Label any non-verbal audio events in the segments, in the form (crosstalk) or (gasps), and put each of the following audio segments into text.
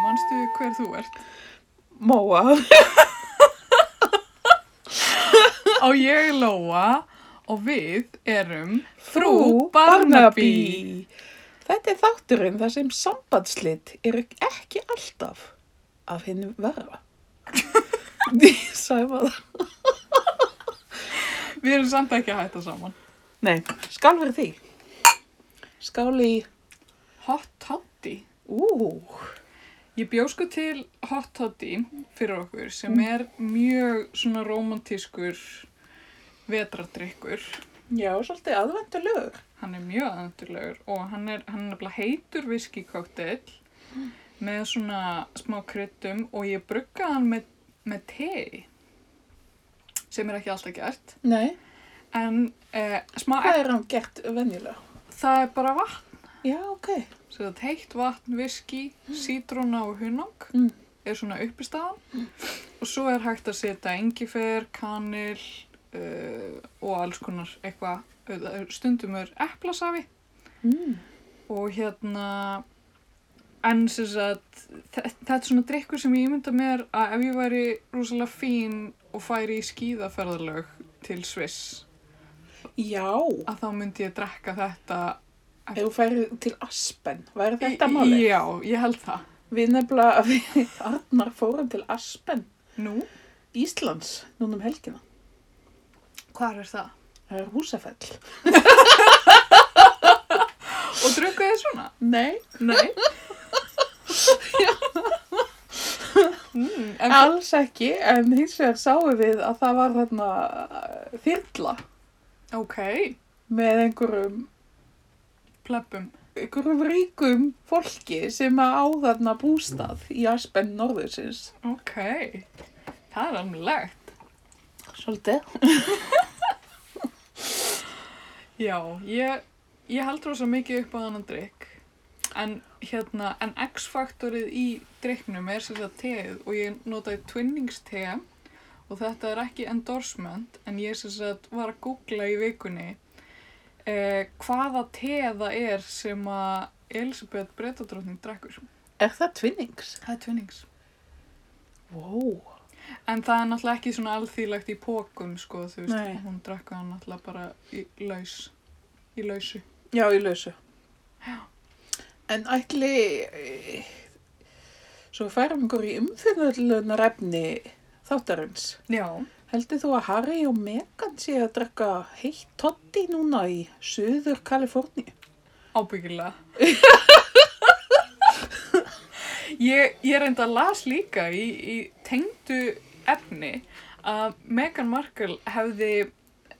hver þú ert. Móa. Og ég er Lóa og við erum Þetta er þátturinn þar sem sambandslit eru ekki alltaf af hinn verra. Því sagði maður. Við erum samt ekki að hætta saman. Nei, skál fyrir því. Skál í, Hot Toddy. ú, Ég bjó sko til Hot Toddy fyrir okkur sem er mjög svona romantískur vetradrykkur. já, svolítið aðvendulegur. Hann er mjög aðendurlegur og hann er, hann er nefnilega heitur viskikóttel með svona smá kryddum og ég bruggaði hann með, með te sem er ekki alltaf gert Nei, en eh, smá hvað er hann gert venjulega? það er bara vatn Já, ok. Svo það heitt vatn, viski, sítrúna og hunang Mm. er svona uppistaðan og svo er hægt að setja engifer, kanil uh, og alls konar eitthvað, auðvitað er- stundum er eplasafi Mm. og hérna en sem sagt þe- þetta er svona drikkur sem ég ímynda mér að ef ég væri rosalega fín og færi í skíðaferðalög til Sviss Já, að þá myndi ég drekka þetta ef þú færið til Aspen, væri þetta Í- málið? Já, ég held það Við nefnilega, (laughs) við Arnar fórum til Aspen, Nú, Íslands, núna um helgina. hvað er það? Það er húsafell. Og drukku þið svona? Nei. Nei (laughs) mm, en, Alls ekki, en hins vegar sáum við að það var þarna eh, þyrla Ok, með einhverjum, plebbum einhverjum ríkum fólki sem að á þarna bústað í Aspen norðursins. Ok, það er alveg Svolítið. Já, ég, ég held rosa mikið upp á þannan drikk en hérna, en X-faktorið í drikknum er sér það teið og ég notaði tvinningste og þetta er ekki endorsement en ég sér að var að googla í vikunni eh, hvaða teið það er sem að Elisabeth Bretadrótning drekkur. Er það tvinnings? Það er tvinnings. Vó. En það er náttúrulega ekki svona alþýlegt í pókum sko, þú veist, Nei. hún drekka hann náttúrulega bara í laus, í lausu. Já, í lausu. En ætli, eh, svo við færum ykkur í umfyrðunar efni þáttarins. Já. Heldur þú að Harry og Meghan sé að drekka heitt totti núna í söður Kaliforni? Ábyggilega. ég, ég reynda að las líka í, í tengdu efni að Meghan Markle hefði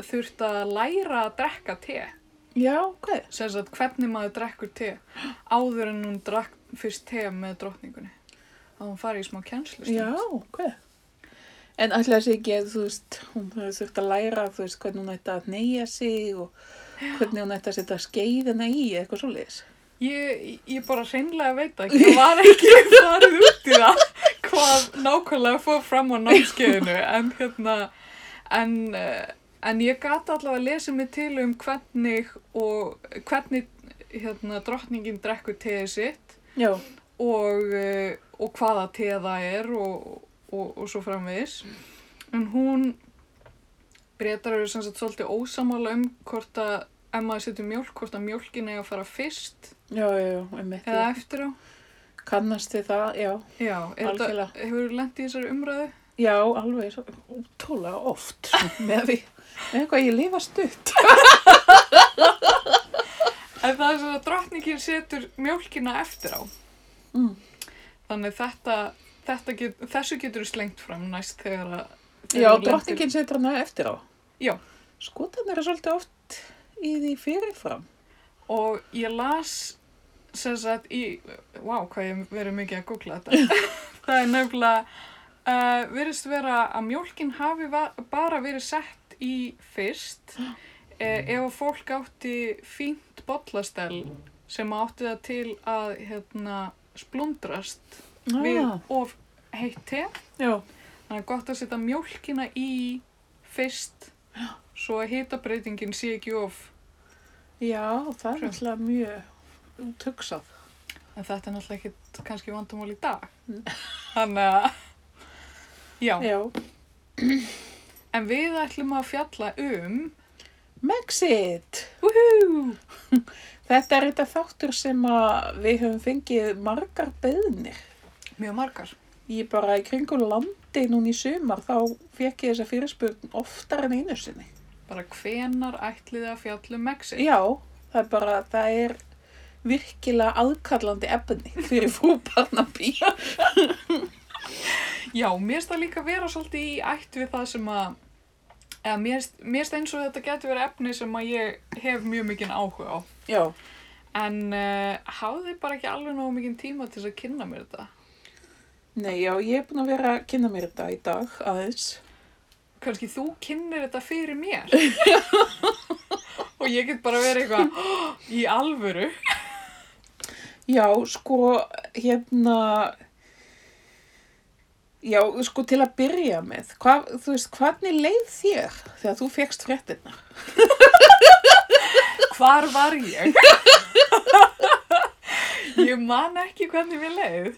þurft að læra að drekka te. Já, ok. Sess að hvernig maður drekkur te áður en hún drakk fyrst te með drottningunni. Að hún fari í smá kennslu. Já, ok. En ætla þessi ekki að þú veist, hún hefur þurft að læra, þú veist, hvernig hún ætti að neyja sig og hvernig hún ætti að setja skeiðina í eða eitthvað svoleiðis. Ég, ég bara hreinlega veit ekki, ég var ekki (laughs) farið út í það hvað nákvæmlega fór fram á námskeiðinu en hérna, en, eh, en ég gata allavega að lesa mig til um hvernig og hvernig hérna drottningin drekkur teði sitt Já. og, eh, og hvaða teða það er og, og, og svo framvegis. En hún breytar eru sem sagt svolítið ósamála um hvort að ef maður setur mjólk, hvort að mjólkin er að fara fyrst Já, já, já, einmitt. eða eftir á. Kannast þið það, já. Já, er þetta, Algjörlega. hefur lent í þessari umræðu? Já, alveg svo ótrúlega oft sko, (laughs) með því, með eitthvað ég lifa stutt. En það er sem að drottningin setur mjólkina eftir á. Mm. Þannig þetta, þetta get, þessu getur slengt fram næst þegar að... þegar Já, þú lendir- drottningin setur hana eftir á. Já. Skotan eru svolítið oft í því fyrirfram. Og ég las sem sagt í, vá hvað ég hef verið mikið að googla þetta. það er nefnilega, uh, verist vera að mjólkin hafi va- bara verið sett í fyrst uh, ef að fólk átti fínt bollastel sem átti það til að hérna, splundrast við Ah, of heitt te. já, Þannig að gott að setja mjólkina í fyrst svo að hitabreytingin sé ekki of já, það er Svo. alltaf mjög úthugsað. En þetta er náttúrulega ekkit kannski vandamál í dag. (laughs) Þannig að, já. Já. En við ætlum að fjalla um, Mexit! woohoo, Þetta er þetta þáttur sem að við höfum fengið margar beðnir. mjög margar. Ég bara í kringum landi núna í sumar þá fekk ég þessa fyrirspurn oftar en einu sinni. Bara hvenar ætlið þið að fjalla um Mexit? Já, það er bara, það er virkilega aðkallandi efni fyrir frú Barnaby. Já, mér finnst það líka vera svolítið í ætt við það sem að, eða mér finnst- mér finnst eins og þetta getur verið efni sem að ég hef mjög mikinn áhuga á. Já, En uh, hafði bara ekki alveg nógu mikinn tíma til þess að kynna mér þetta. nei, já, ég er búin að vera að kynna mér þetta í dag aðeins. Kanski þú kynnir þetta fyrir (laughs) mér. og ég get bara verið eitthvað "Hó, í alvöru. Já, sko, hérna, já, sko til að byrja með, hvað, þú veist, hvernig leið þér þegar þú fegst fréttina? Hvar var (laughs) ég? ég man ekki hvernig við leið.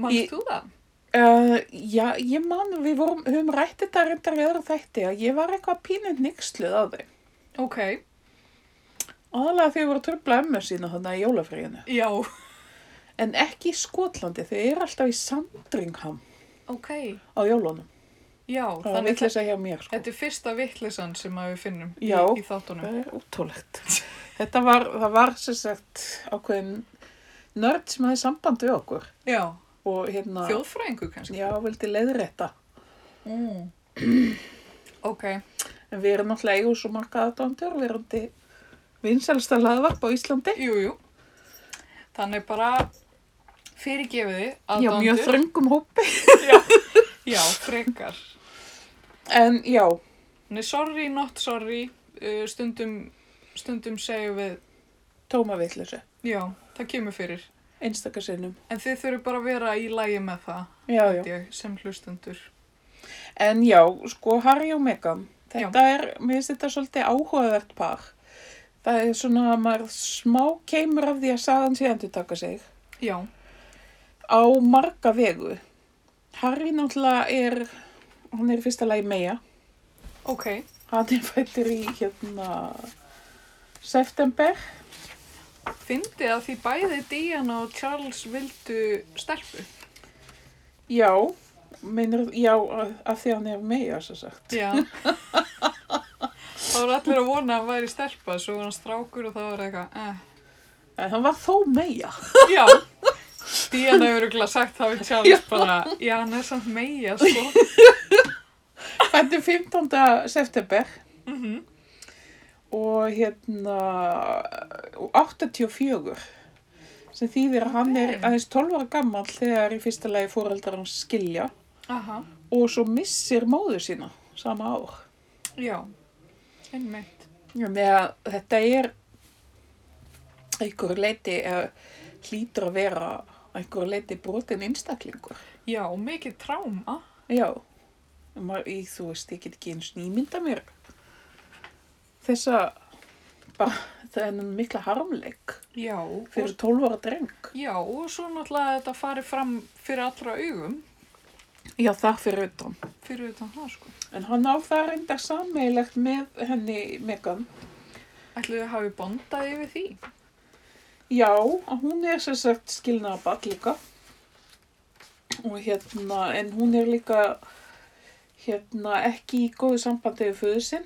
Manst Ég- þú það? Uh, já, ég man, við vorum, höfum rætt þetta reyndar við öðru þætti að ég var eitthvað pínuð nixluð á þeim. Ok, Aðalega þau voru að tröfla ömmu sína þannig í jólafríðinu. já, En ekki í Skotlandi, þau eru alltaf í Sandringham ok, á jólunum. já. Það er Þannig vitleisa hjá mér, sko. þetta er fyrsta vittlisann sem að við finnum Já. í, í þáttunum. Það er ótrúlegt. Þetta var, það var sem sagt ákveðin nörd sem hafði samband við okkur Já, og hérna, þjóðfræðingu kannski. já, vildi leiðrétta. (clears throat) Mm. Ok, En við erum náttúrulega eigu svo marga aðdóndur, við erum til vinsælsta laðvarp á Íslandi. Jú, jú. Þannig bara fyrirgefiði Já, mjög þröngum hópi. Já, frekar. En já, Nei, sorry, not sorry. Uh, stundum, stundum segjum við, tóma vitleysu, já, það kemur fyrir. einstaka sinnum. En þið þurfum bara að vera í lægi með það, Já, já. held ég, sem hlustundur. En já, sko Harry og Meghan, þetta er, mér finnst þetta svolítið áhugavert par. Það er svona að maður smá keimur af því að sagan sé endur taka sig. Já, á marga vegu. Harry náttúrulega er, hann er í fyrsta lagi meja. ok. Hann er fættur í hérna september. Fyndi að því bæði Diana og Charles vildu stelpu. Já, meinur, já, af því hann er meja, svo sagt. Já. Það voru allir að vona að hann væri stelpa, svo var hann strákur og það var eitthvað, eh, En hann var þó meja. Já, Díana hefur örugglega sagt það við Charles bara, já, hann er samt meia, sko. Fættur 15. september Mm og hérna og 84 sem þýðir að hann er Nei. aðeins 12 ára gammal þegar í fyrsta lagi fóreldrar hans skilja Aha, og svo missir móður sína sama ár. já, einmitt. Já, með að þetta er einhver leiti eða hlýtur að vera einhver leiti brotin einstaklingur. Já, mikið tráma. Já, maður, ég, þú veist, ég get ekki eins og nýmynda mér þessa, bara, það er enn mikla harmleik Já, og, fyrir 12 ára dreng. já, og svo náttúrulega þetta farið fram fyrir allra augum, Já, það fyrir utan. fyrir utan það, sko. En hann á það reyndar sameigilegt með henni Megan. Ætlu þau hafi bondað yfir því? Já, að hún er sem sagt skilnaðaball líka og hérna, en hún er líka hérna ekki í góðu sambandi við föðu sinn.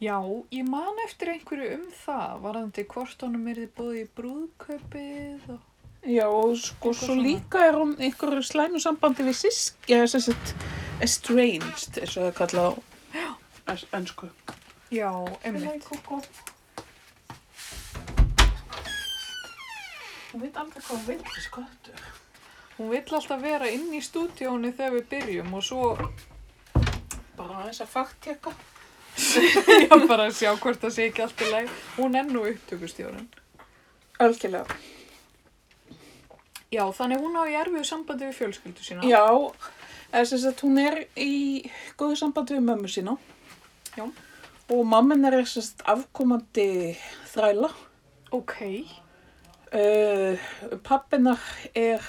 Já, ég man eftir einhverju um það, varðandi hvort honum er þið búið í brúðkaupið og... Já, og sko, Eitthvað svo svona. líka er hún í einhverju slæmu sambandi við sísk, eða sem sagt estranged, eins og það er kallað á ens- ensku. Já, einmitt. kókó. Hún veit aldrei hvað hún veit, þessi köttur. Hún vill alltaf vera inn í stúdíónu þegar við byrjum og svo (laughs) Bara aðeins að faktíka. Já, bara að sjá hvort það sé ekki allt í læg. Hún er nú upptökustjórun. Algjörlega. Já, þannig hún á í erfiðu sambandi við fjölskyldu sína. Já, eða sem sagt hún er í góðu sambandi við mömmu sína Já. og mamman er sem sagt afkomandi þræla Ok. Uh, pappinar er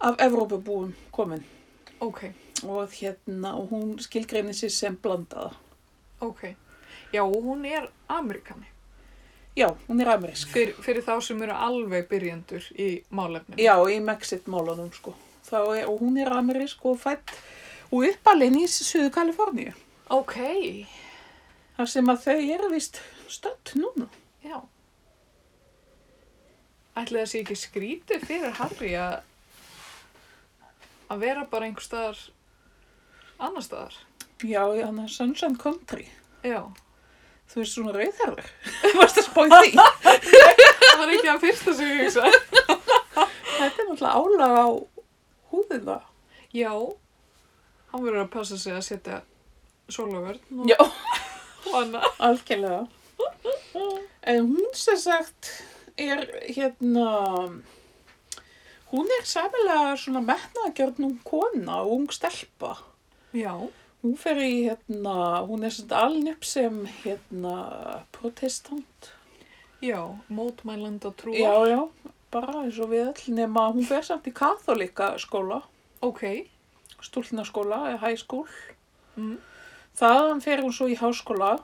af Evrópubúum komin Ok, og hérna og hún skilgreinir sér sem blandaða. ok. Já, og hún er amerikani. Já, hún er amerísk. Fyr, fyrir þá sem eru alveg byrjendur í málefnum. Já, í Mexit-málunum sko. Þá Er, og hún er amerísk og fætt og uppalinn í Suðu Kaliforníu. Ok, Þar sem að þau eru vist stödd núna. já. Ætli það sé ekki skrítið fyrir Harry að að vera bara einhver staðar annar staðar. Já, hann er Sunshine Country. Já. Þú veist svona (laughs) rauðherður. Varst að spáði því? Það var ekki að fyrsta sem ég hugsa. (laughs) Þetta er náttúrulega álag á húðina. Já, hann verður að passa sig að setja sólavörn og Já. hana. Algjörlega. En hún sem sagt er hérna, hún er samilega svona metnaðgjörn um kona og ung stelpa. Já, Hún fer í hérna, hún er svona alin upp sem hérna protestant. já, mótmælanda trúar. Já, já, bara eins og við öll nema hún fer samt í katholika skóla, Ok, stúlnaskóla, eða high school. mm. Þaðan fer hún svo í háskóla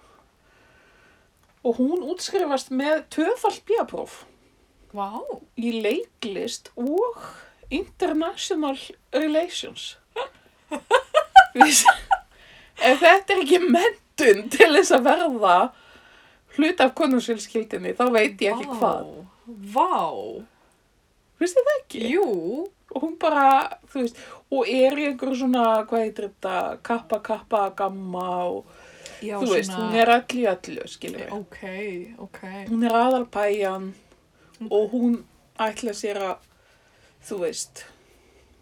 og hún útskrifast með tvöfalt bíapróf. vá, í leiklist og international relations. Vís- Ef þetta er ekki mentun til þess að verða hlut af konungsfjölskyldinni, þá veit ég ekki vá, hvað. Vá, Vistu það ekki? jú, Og hún bara, þú veist, og er í einhverju svona, hvað heitir þetta, kappa, kappa, gamma og, já, þú veist, hún er öll í öllu, skilur við. ok, ok, Hún er aðalpæjan og hún ætla sér að, þú veist,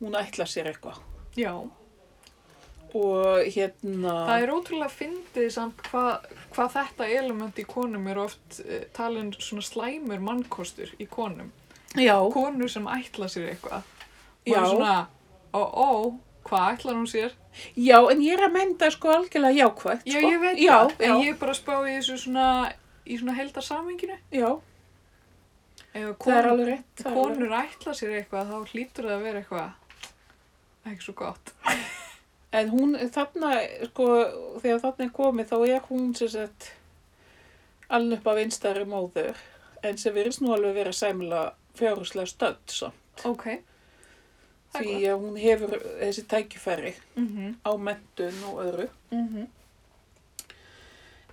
hún ætla sér eitthvað. já, og hérna það er ótrúlega fyndið samt hvað hva þetta element í konum er oft eh, talin svona slæmur mannkostur í konum, já, konur sem ætla sér eitthvað, og já, er svona, ó, ó, hvað ætlar hún sér, já, en ég er að mynda sko algjörlega jákvægt já, sko. ég veit já, það, já, en ég er bara að spá í þessu svona, í svona heldarsaminginu, já, ef það er konur alveg rétt það er alveg rétt. konur ætla sér eitthvað, þá hlýtur það að vera eitthvað ekki svo gott. en hún þarna sko, þegar þarna er komið þá er hún sem sagt alveg upp af einstæðri móður en sem virðist nú alveg vera sæmla fjárhúslega stödd svo. Ok. Það er því að hún hefur þessi tækifæri Mhm. á mentun og öðru Mhm.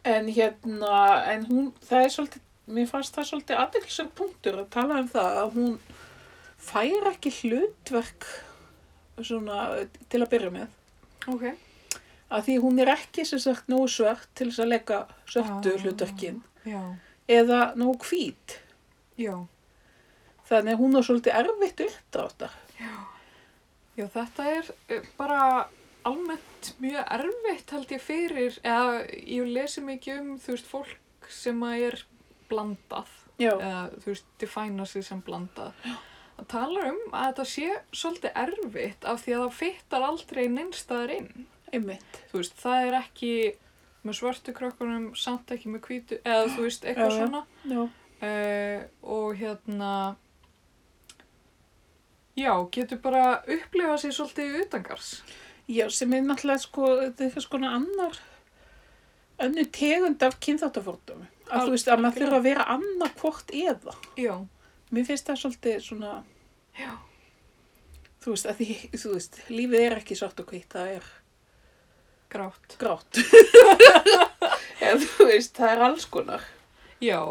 En hérna, en hún, það er svolítið, mér fannst það svolítið aðeinsverð punktur að tala um það að hún fær ekki hlutverk svona til að byrja með. Ok. Að því hún er ekki sem sagt nógu svört til þess að leika svörtu Ah. hlutverkin Já. eða nógu hvít. Já. Þannig að hún er svolítið erfitt uppdráttar. Já, þetta er eh, bara almennt mjög erfitt held ég fyrir, eða ég lesi mikið um, þú veist, fólk sem að er blandað, Já, eða þú veist, defæna sig sem blandað. Það talar um að þetta sé svolítið erfitt af því að það fittar aldrei neinstæðar inn. einmitt. þú veist, það er ekki með svörtu krökkunum, samt ekki með hvítu, eða þú veist, eitthvað Já, já. svona. Já, Uh, og hérna, já, getur bara upplifað sér svolítið utangars. Já sem er náttúrulega sko, þetta er eitthvað skona annar, önnu tegund af kynþáttafórdómi. Að Al- þú veist, að maður algjörlega. þurfa að vera annað hvort eða. Já, Mér finnst það svolítið svona, já, þú veist, að því, þú veist, lífið er ekki svart og hvitt, það er grátt. grátt. (laughs) Eða þú veist, það er alls konar. Já,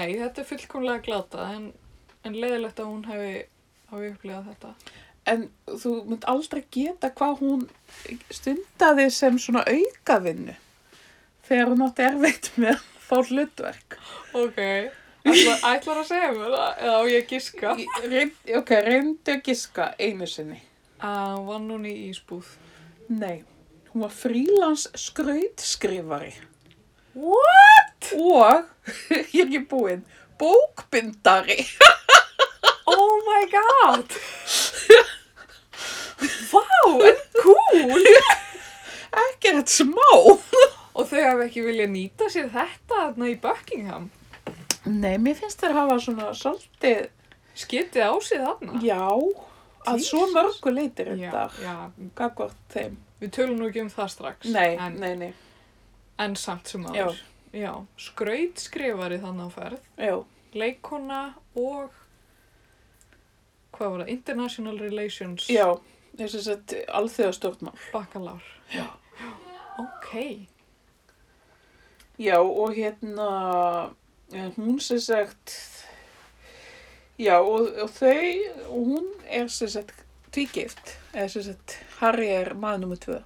nei, þetta er fullkomlega glata, en, en leiðilegt að hún hefði hafi upplifað þetta. En þú mynd aldrei geta hvað hún stundaði sem svona aukavinnu þegar hún átti erfitt með að fá hlutverk. Ok, ætlar, ætlar að segja mér það, eða á ég að giska? Ég reynd- Ok, reyndu að giska einu sinni. Að vann hún í ísbúð. Nei, hún var frílans skrautskrifari What? og, (laughs) ég er ekki búinn, bókbindari. Oh my god! Vá, en cool! Ekkert smá. Og þau hafa ekki viljað nýta sér þetta þarna í Buckingham. Nei, mér finnst þér hafa svona svolítið, Skitið á sig þarna. já, að Jesus. svo mörgu leitir þetta, já, já, gagvart þeim. við tölum nú ekki um það strax. Nei, en, nei, nei, en samt sem aður. Já. já. Skraut skrifari þannig á ferð, já, leikona og, hvað var það, International Relations já, þess að þetta er alþjóðastjórnmál. bakalár. Já. Ok. Já, og hérna, eh, hún sem sagt, já, og, og þau, og hún er sem sagt tvígift, eða sem sagt, Harry er maður nummer tvö.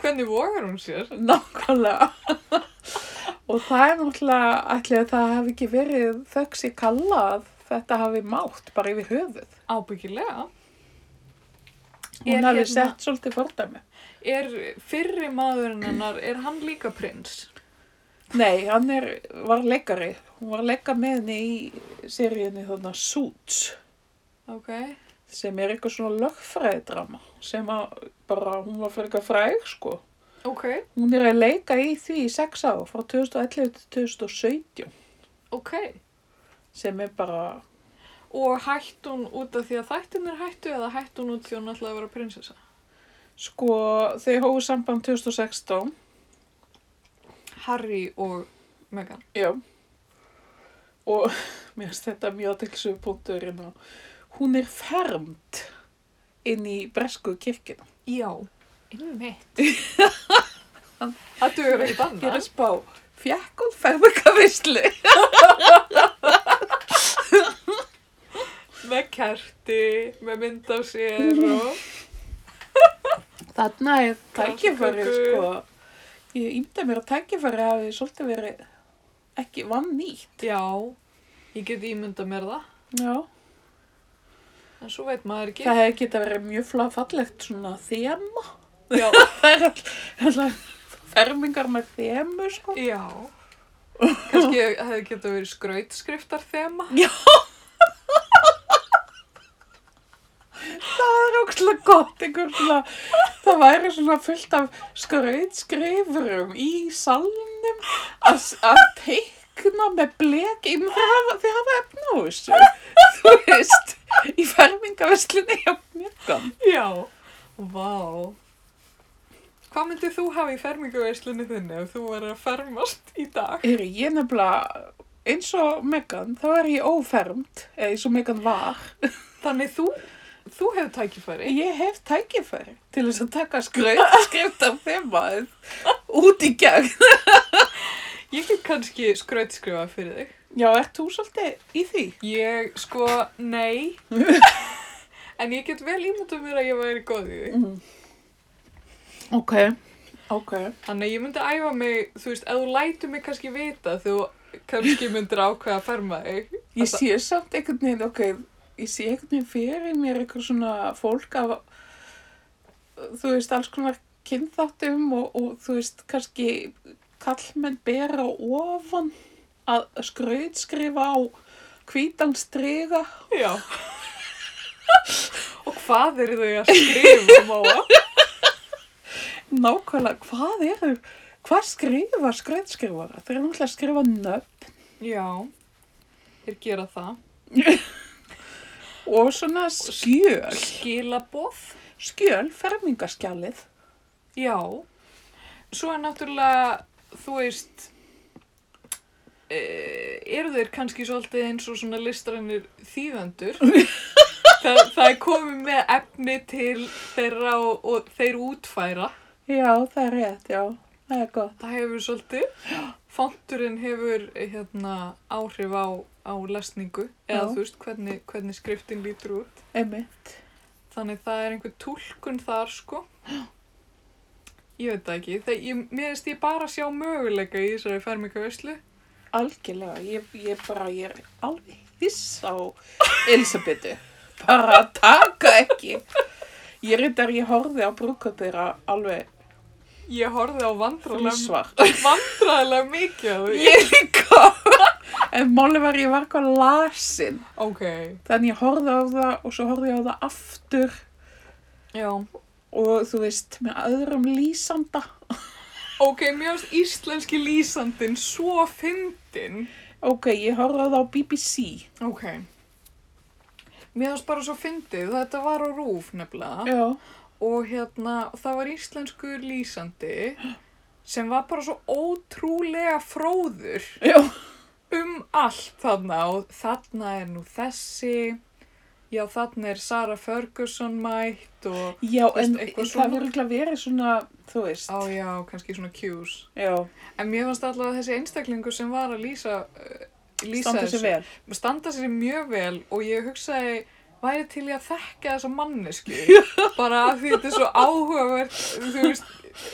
Hvernig vogar hún sér? Nákvæmlega. (laughs) og það er náttúrulega ætli að það hafi ekki verið þöggs í kalla að þetta hafi mátt bara yfir höfuð. Ábyggilega. Hún Er hafi hérna- sett svolítið fordæmi. Er fyrri maðurinn hennar, er hann líka prins? Nei, hann er, var leikari. Hún var að leika með henni í seríunni þarna Suits Ok. sem er eitthvað svona lögfræðidrama sem að bara hún var fyrir eitthvað fræg sko. Ok. Hún er að leika í því í sex ára frá 2011 til 2017 Ok. sem er bara, Og hætt hún út af því að þættin er hættu eða hætt hún út því að hún ætlaði að vera prinsessa? sko, þau hóðu samband 2016 Harry og Meghan. Já. Og (laughs) mér finnst þetta mjög aðtilsöfu punkturinn að hún er fermd inn í bresku kirkina. Já, (laughs) einmitt. það dugur ekki Ég er banna. að spá, fjekk hún fermekavislu? Með kerti, með mynd af sér og... Þarna er Tækifæri, tækifærið, sko. Ég ímda mér að tækifærið hafi svolítið verið ekki vann nýtt. (laughs) Já, ég get ímyndað mér það. Já. En svo veit maður ekki. Það hefði geta verið mjög flá- fallegt svona þema. Já. (laughs) Það er all- alltaf fermingar með þemu, sko. Já. (laughs) Kanski hefði getað verið skrautskriftar þema. Það er ógslag gott, einhver svona, það væri svona fullt af skrautskrifurum í salnum að að teikna með blek inn þegar hafa, þeir hafa efna á þessu. Þú veist, í fermingaveslunni hjá mjögum. Já. Vá. Hvað myndið þú hafa í fermingaveislinni þinni ef þú verður að fermast í dag? Eru ég nefnilega, eins og Megan, þá er ég ófermd, eða eins og Megan var. Þannig þú, þú hefur tækifæri. Ég hef tækifæri til þess að taka skrautskrift af þemaðið út í gegn. Ég get kannski skrautskrifað fyrir þig. Já, ert þú svolítið í því? Ég, sko, nei. en ég get vel ímyndað mér að ég væri góð í því. Mm. Ok, ok. Þannig að ég myndi æfa mig, þú veist, ef þú lætur mig kannski vita, þú kannski myndir ákveða að ferma þig. Ég sé samt einhvern veginn, ok, ég sé einhvern veginn fyrir mér eitthvað svona fólk af, þú veist, alls konar kynþáttum og, og þú veist, kannski kallmenn bera ofan að skrautskrifa á hvítan striga. Já. (laughs) Og hvað eru þau að skrifa, máa? Nákvæmlega, hvað eru, hvað skrifa skrautskrifara? Þeir eru náttúrulega að skrifa nöfn Já, þeir gera það. og svona skjöl, Skilaboð? skjöl, fermingaskjalið. Já. Svo er náttúrulega, þú veist, eh, eru þeir kannski svolítið eins og svona listrænir þýðendur? Þa, það er komið með efni til þeirra og, og þeir útfæra. Já, það er rétt, já. Það er gott. Það hefur svolítið. Fonturinn hefur hérna, áhrif á, á lesningu eða Já. þú veist hvernig, hvernig skriftin lítur út. Einmitt. Þannig það er einhver tólkun þar sko. Ég veit það ekki. Það, ég, mér finnst ég bara sjá möguleika í þessari fermingaveislu. Algjörlega. Ég, ég bara, ég er alveg hiss á Elisabetu. Bara taka ekki. Ég reyndar, ég horfði á brúkað þeirra alveg Ég horfði á vandræðilega, frísvar. (laughs) vandræðilega mikið af því. Ég líka. En máli var ég var eitthvað lasin. Ok, Þannig ég horfði á það og svo horfði ég á það aftur já. og þú veist, með öðrum lýsanda. Ok, mér finnst íslenski lýsandinn svo fyndin. Ok, ég horfði á BBC. Ok. Mér finnst bara svo fyndið, þetta var á rúf nefnilega Já. og hérna það var íslenskur lýsandi sem var bara svo ótrúlega fróður Já. um allt þarna og þarna er nú þessi, já þarna er Sara Ferguson mætt og Já, Þú veist, en eitthvað það svona. verður ekki verið svona, þú veist. á já, kannski svona cues. Já, En mér finnst alltaf að þessi einstaklingu sem var að lýsa, uh, lýsa standa sér vel. standa sér mjög vel og ég hugsaði væri til ég að þekka þessa mannesku bara af því þetta er svo áhugavert þú veist,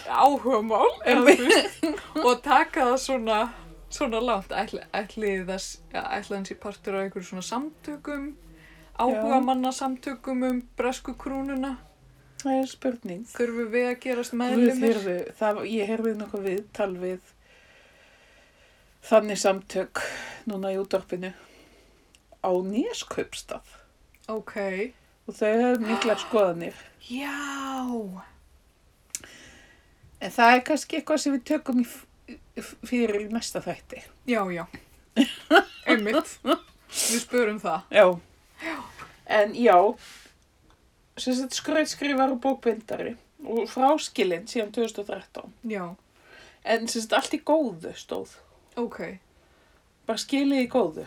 áhugamál eða þú veist, og taka það svona svona langt ætli, ætli, þess, ja, ætli hans í partur á einhverju svona samtökum áhugamanna samtökum um bresku krúnuna Það er spurning. þurfum við að gerast Guð, meðlumir heyrðu, það, ég heyrði nokkuð við, tal við þannig samtök núna í útvarpinu á Neskaupstað ok, og þau hefur (gasps) miklar skoðanir. já En það er kannski eitthvað sem við tökum í, f- fyrir í næsta þætti. já, (laughs) já einmitt við spörum það Já. En já, sem sagt skröðskrifar og bókbindari og fráskilinn síðan 2013. já, En sem sagt allt í góðu stóð. ok Bara skilið í góðu.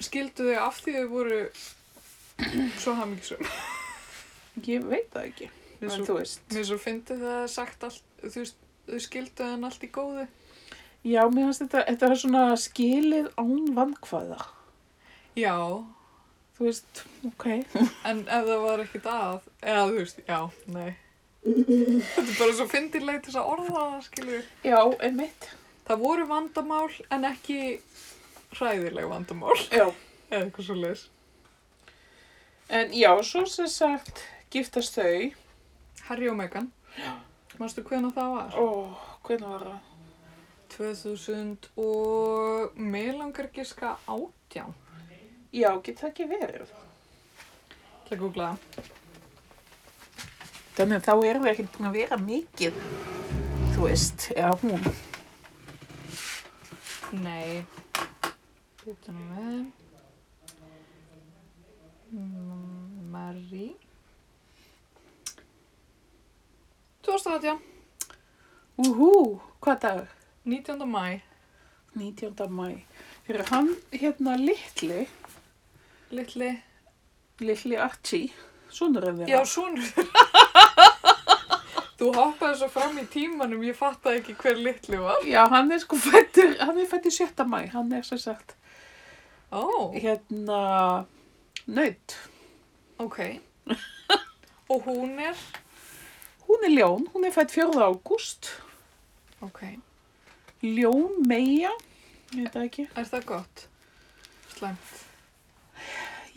skildu þau af því þau voru (clears throat) svo hamingisum. Ég veit það ekki. Mér En svo, þú veist. mér svo fyndi það er sagt allt, þú veist, þau skildu hann allt í góðu. Já, mér finnst þetta, þetta er svona skilið án vankvæða. Já, Þú veist, ok. en ef það var ekkit að, eða þú veist, já, nei. Þetta er bara svo fyndileg til þess að orða það, skilju. Já, einmitt. Það voru vandamál en ekki hræðileg vandamál, Já. eða eitthvað svo leis. En já, svo sem sagt, giftast þau. Harry og Meghan, manstu hvena það var? Ó, hvernig var það? 2000 og mig langar giska átján. Já, getur það ekki verið. Það googlaða. Þannig að þá erum við ekkert búin að vera mikið. Þú veist, já, hún. Nei. Býta nú við. Mm, Marie. 2018, Úhú, hvað dagur? 19. mæ, 19. mæ. Þegar hann, hérna, litli, litli. litli Archie, sonur en Já, þeirra. sonur. Þú hoppaði svo fram í tímanum, ég fattaði ekki hver litli var. Já, hann er sko fættur, hann er fættur 7. mæ, hann er sem sagt Ó, hérna nöyt. ok. Og hún er, Hún er ljón, hún er fætt 4. ágúst. ok, Ljón meja, ég veit það ekki. er það gott? Slæmt.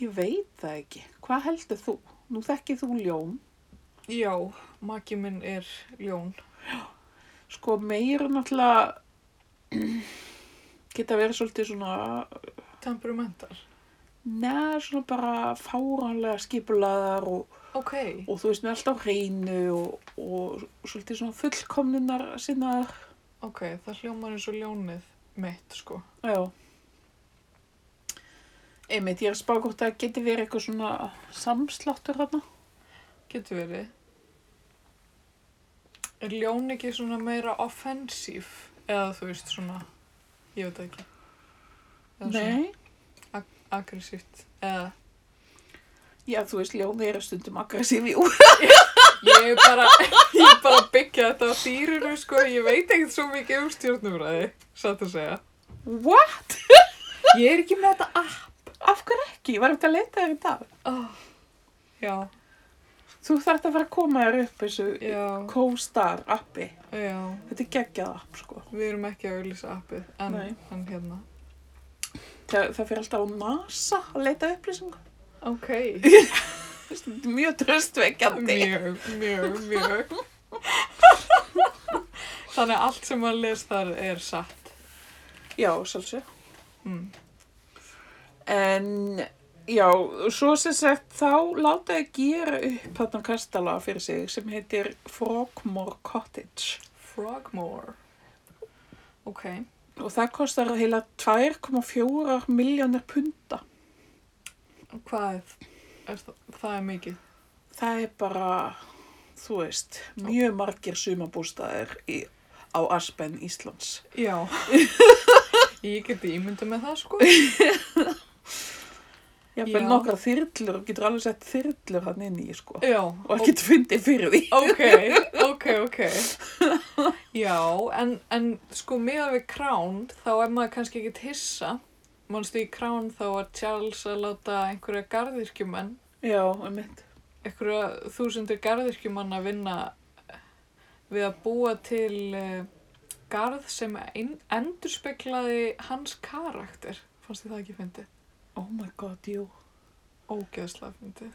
Ég veit það ekki. Hvað heldur þú? Nú þekkir þú ljón. Já, maki minn er ljón. Sko meja eru náttúrulega (clears throat) geta verið svolítið svona, Temperamental. neða svona bara fáranlega skipulaðar og, Ok, og þú veist með allt á hreinu og, og svolítið svona fullkomnunar sinnaðar. ok, það hljómar eins og ljónið mitt, sko. Já. Einmitt, ég er að spá hvort að geti verið eitthvað svona samsláttur þarna. Getur verið. Er ljón ekki svona meira offensív? Eða þú veist, svona, ég veit það ekki. Eða svona Nei. aggressíft. Eða, Já, þú veist, ljón eru stundum aggressív, jú. ég er bara, (laughs) ég er bara að byggja þetta á dýrinu, sko. Ég veit ekkert svo mikið um stjórnumræði, satt að segja. What? Ég er ekki með þetta app. Af hverju ekki? Ég var eftir að leita þér í dag. Oh. Já, Þú þarft að fara að koma þér upp þessu já, Co-Star appi. já. Þetta er geggjað app, sko. Við erum ekki að auðlýsa appið, en, Nei. en hérna. Það, það fyrir alltaf á NASA að leita upplýsingu. Ok. Þetta er mjög tröstveikjandi. Mjög, mjög, mjög. Þannig að allt sem maður les þar er satt. Já, sjálfsög. Mm. En já, svo sem sagt þá láta ég gera upp þarna kastala fyrir sig sem heitir Frogmore Cottage. Frogmore. Ok, og það kostar heila 2,4 miljónir punta. hvað er, er það, það er mikið? Það er bara, þú veist, mjög margir sumabústaðir í, á Aspen Íslands. Já, (laughs) ég geti ímyndað með það sko. Já, menn Já. nokkra þyrlur, getur alveg sett þyrlur hann inn í, sko. Já, Og ekkert fundið fyrir því. ok, ok, ok. Já, en, en sko miðað við krán þá er maður kannski ekkit hissa. Manstu í krán þá var Charles að láta einhverja garðirkjumenn Já, einmitt. einhverja þúsundir garðirkjumann að vinna við að búa til eh, garð sem ein, endurspeklaði hans karakter. Fannst þið það ekki fyndið? Oh my god, jú. Ógeðslega fyndið.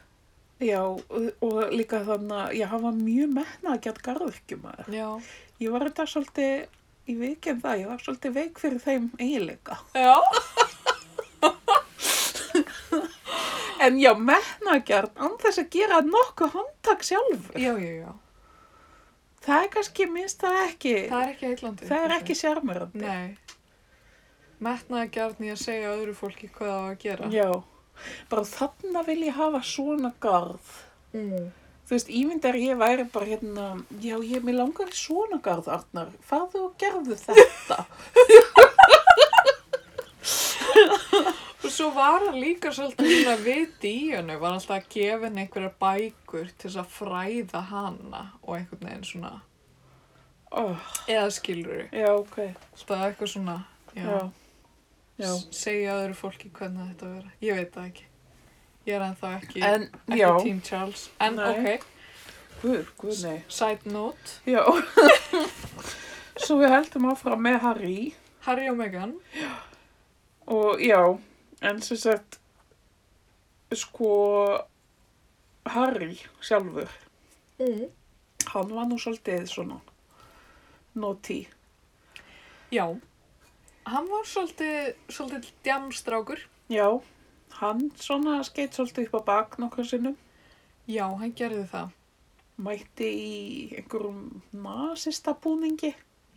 Já, og, og líka þannig að ég hafa mjög metnað að geta garðvirkjum að Já. Ég var þetta svolítið, ég veikið það, ég var svolítið veik fyrir þeim eiginleika. Já. En já, metnaðgjörn, án þess að gera nokkuð handtak sjálfur. Já, já, já. Það er kannski, minnst það ekki, Það er ekki heitlandi. það er ekki sérmörandi. Nei. Metnaði gjarn í að segja öðru fólki hvað það á að gera. Já, bara þarna vil ég hafa svona garð. Mm. Þú veist, ímyndar ég væri bara hérna, já, ég er mér langar í svona garð, Arnar, farðu og gerðu þetta. (laughs) Og svo var hann líka svolítið svona viti í hennu, var alltaf að gefa henni einhverja bækur til þess að fræða hana og einhvern veginn svona, oh, eða skilur já, ok, alltaf eitthvað svona, já, já. Já. s- segja öðru fólki hvernig þetta á að vera. Ég veit það ekki. Ég er ennþá ekki, En, ekki já, Team Charles. En Nei. ok, guð, guð, nei. side note, Já. (laughs) Svo við heldum áfram með Harry Harry og Meghan, og já, en sem sagt, sko, Harry sjálfur, mm. hann var nú svolítið svona, noti. já, hann var svolítið, svolítið djamstrákur. Já, hann svona skeitt svolítið upp á bak nokkur sinnum, Já, hann gerði það. mætti í einhverjum nasista búningi.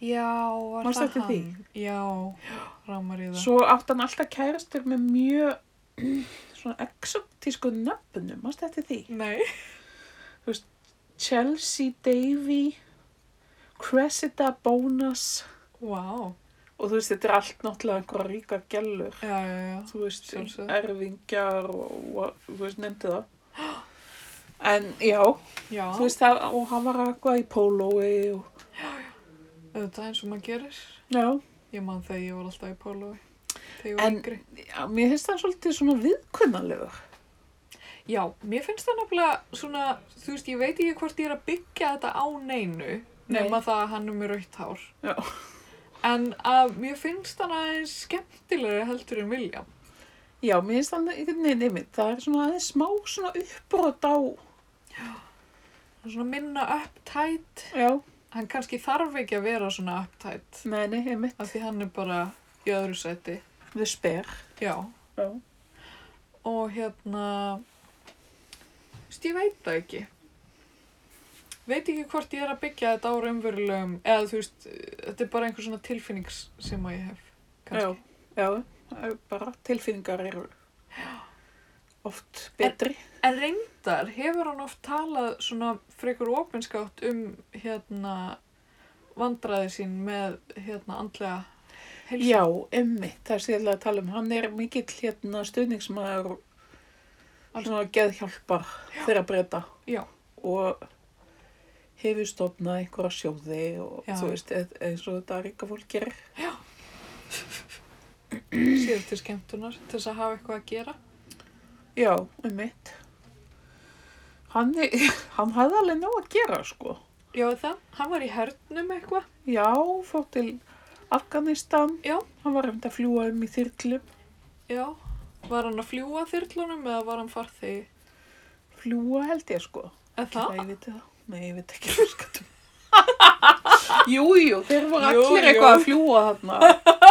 Já, var Manstu það eftir hann? því? Já, rámar í það. Svo átti hann alltaf kærastur með mjög (clears throat) svona exotísku nöfnum, mást þetta því? Nei. Chelsea Davy, Cressida Bonas Vá, og þú veist þetta er allt náttúrulega einhverja ríka gellur. já, já, já. Þú veist, Sjálfsögðu. erfingjar og, og þú veist, nefndi það. En já, Já, þú veist það, og hann var eitthvað í pólói og, auðvitað eins og maður gerir. já, Ég man þegar ég var alltaf í pólói, þegar ég var En- yngri. já, mér finnst það svolítið svona viðkunnalegur. Já, mér finnst það nefnilega svona, þú veist, ég veit ekki hvort ég er að byggja þetta á neinu, Nei. nema það að hann er með rautt hár. Já. En að mér finnst hann aðeins skemmtilegri heldur en William. Já, mér finnst það einhvern veginn einmitt, það er svona aðeins smá svona uppbrot á, Hann er svona minna upptætt, já, hann kannski þarf ekki að vera svona upptætt, nei, nei, einmitt, af því hann er bara í öðru seti. við sper. Já, Já. og hérna þú veist, ég veit það ekki veit ekki hvort ég er að byggja þetta á raunverulegum eða þú veist, þetta er bara einhver svona tilfinning s- sem að ég hef kannski. Já, það eru bara tilfinningar eru oft betri. en reyndar hefur hann oft talað svona frekur opinskátt um hérna vandræði sín með hérna andlega heilsu Já, emmi, það er sérlega að tala um. Hann er mikill hérna stuðningsmaður og svona geðhjálpar þeirra breyta. Já. Og hefur stofnað einhverja sjóði og Já. þú veist, e- eins og þetta ríka fólk gerir. síður til skemmtunar til þess að hafa eitthvað að gera Já, emmitt. Hann, er- (laughs) hann hafði alveg nóg að gera, sko. já er það, hann var í hernum eitthvað Já, fór til Afganistan. Já. Hann var um að fljúa um í þyrlum. já, var hann að fljúa þyrlunum eða var hann farþegi Fljúa held ég sko. eða Ætli það Það ég veit það. Nei, ég veit ekki hvað skattum. Jú, jú, þeir voru Jú, allir jú. eitthvað að fljúa þarna.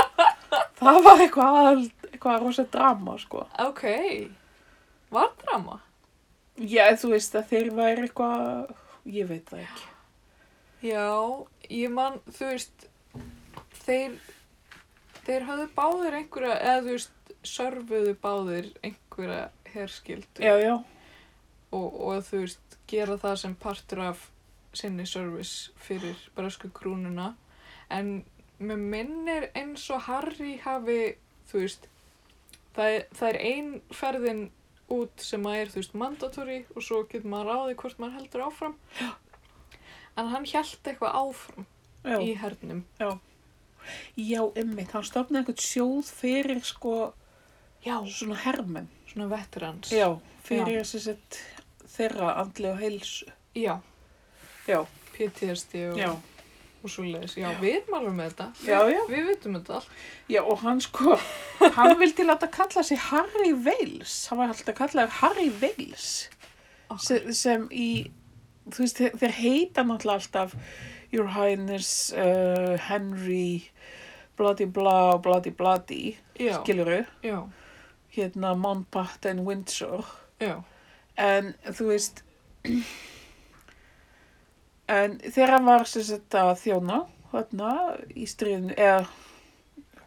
Það var eitthvað aðal, eitthvað rosa drama sko. Ok, var drama? Já, þú veist að þeir væri eitthvað, ég veit það ekki. Já, ég man, þú veist, þeir, þeir hafðu báðir einhverja, eða þú veist, sörfuðu báðir einhverja herskildu Já, já. og, og þú veist, gera það sem partur af sinni service fyrir brösku krúnuna. En mér minnir eins og Harry hafi, þú veist, það er, það er ein ferðin út sem að er, þú veist, mandatory og svo getur maður ráðið hvort maður heldur áfram. En hann held eitthvað áfram Já, í hernum. já ymmit. Hann stofnaði einhvern sjóð fyrir sko Já. svona hermenn. Svona veterans. Já, fyrir sem sett þeirra andlega heilsu. Já, Já, PTSD og, já. og svo leiðis. Já, við erum alveg með þetta. Já, Við- já. Við vitum þetta allt. Já, og hann sko, hann vildi láta kalla sig Harry Wales. Hann var alltaf kallaður Harry Wales. sem, sem í, þú veist, þe- þeir heita náttúrulega alltaf Your Highness, uh, Henry, bloody blah, bloody bloody, Já, skiluru, já, hérna Mountbatten, Windsor, já, en þú veist, (clears throat) en þegar hann var sem sagt að þjóna, þarna, í stríðinu, eða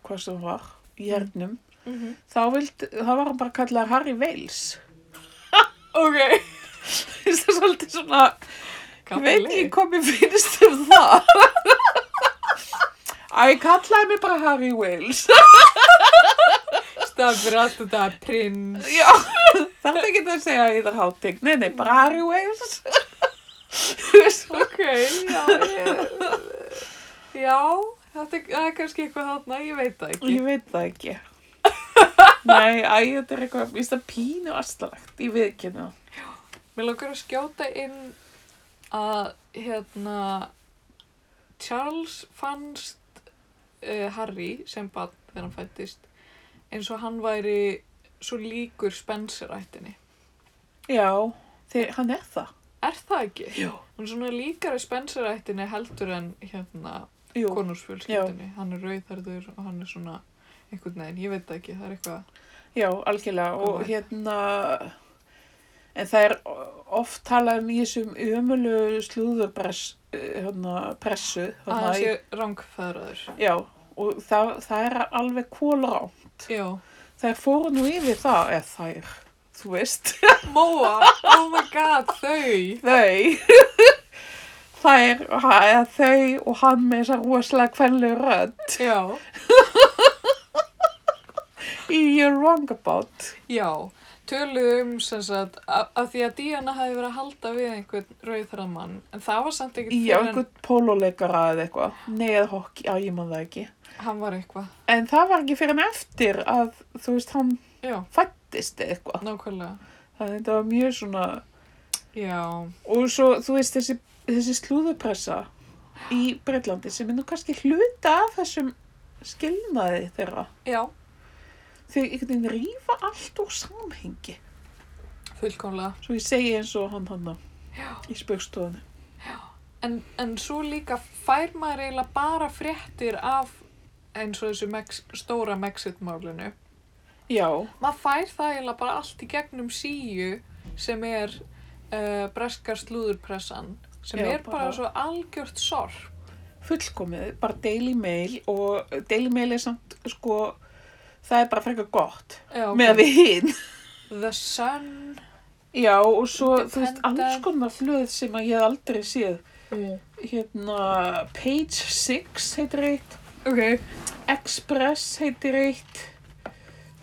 hvað sem var, í hernum, mhm. þá vild, þá var hann bara kallaður Harry Wales. (laughs) Ok. Þú veist, það er svolítið svona, Ég veit Gaman ekki leið. hvað mér finnst um það. (laughs) Æ, ég kallaði mig bara Harry Wales. Það fyrir allt þetta prins. (laughs) Já, þetta ekki að segja að ég þarf háting. Nei, nei, bara Harry Wales. (laughs) Ok, já, ég... Já, þetta er, það er kannski eitthvað þarna, ég veit það ekki. Ég veit það ekki. Nei, æ, þetta er eitthvað, mér finnst það pínu astalagt. Ég veit ekki það. Mér langar að skjóta inn að, hérna, Charles fannst uh, Harry sem barn þegar hann fættist eins og hann væri svo líkur Spencer-ættinni. Já, þeir, hann er það. Er það ekki? Já. Hann er svona líkari Spencer-ættinni heldur en, hérna, Jú, konursfjölskyldinni. Hann er rauðarður og hann er svona einhvern veginn, ég veit það ekki, það er eitthvað. já, algjörlega. Og Alveg. hérna, en það er oft talað um í þessum ömulu slúðurpress, eh, hérna, pressu. Að þarna hann í- sé rangfæðraður. Já, og það, það er alveg kólrá. Já. Þær fóru nú yfir það, eða þær, þú veist, (laughs) Móa, oh my god, þau. þau. þær, og ha- eða þau og hann með þessa rosalega kvenlu rödd Já. í You're Wrong About. Já. Töluðu um sem sagt, af af því að Diana hafi verið að halda við einhvern rauðarðan mann, en það var samt ekkert Já, einhvern póluleikara eða eitthvað. Nei, eða hokki, já, ég man það ekki. hann var eitthvað. En það var ekki fyrir en eftir að, þú veist, hann Já, fættist eða eitthvað. nákvæmlega. Það þetta var mjög svona, Já. og svo, þú veist, þessi, þessi slúðupressa í Breitlandi sem er nú kannski hluta af þessum skilnaði þeirra. Já, Þau einhvern veginn rýfa allt úr samhengi. fullkomlega. Svo ég segi eins og hann hann Já. í spöksstofunni. En, en svo líka fær maður eiginlega bara fréttir af eins og þessu Mex stóra Mexit-málinu. Já, maður fær það eiginlega bara allt í gegnum síu sem er uh, breskar slúðurpressan sem Já, er bara, bara- svo algjört sorp. fullkomið, bara Daily Mail og Daily Mail er samt, sko, það er bara frekar gott Já, ok. með við hinn. The Sun Já, og svo, þú veist, Independent. alls konar flöð sem að ég hef aldrei séð. Hérna, Page 6 heitir eitt. Ok, Express heitir eitt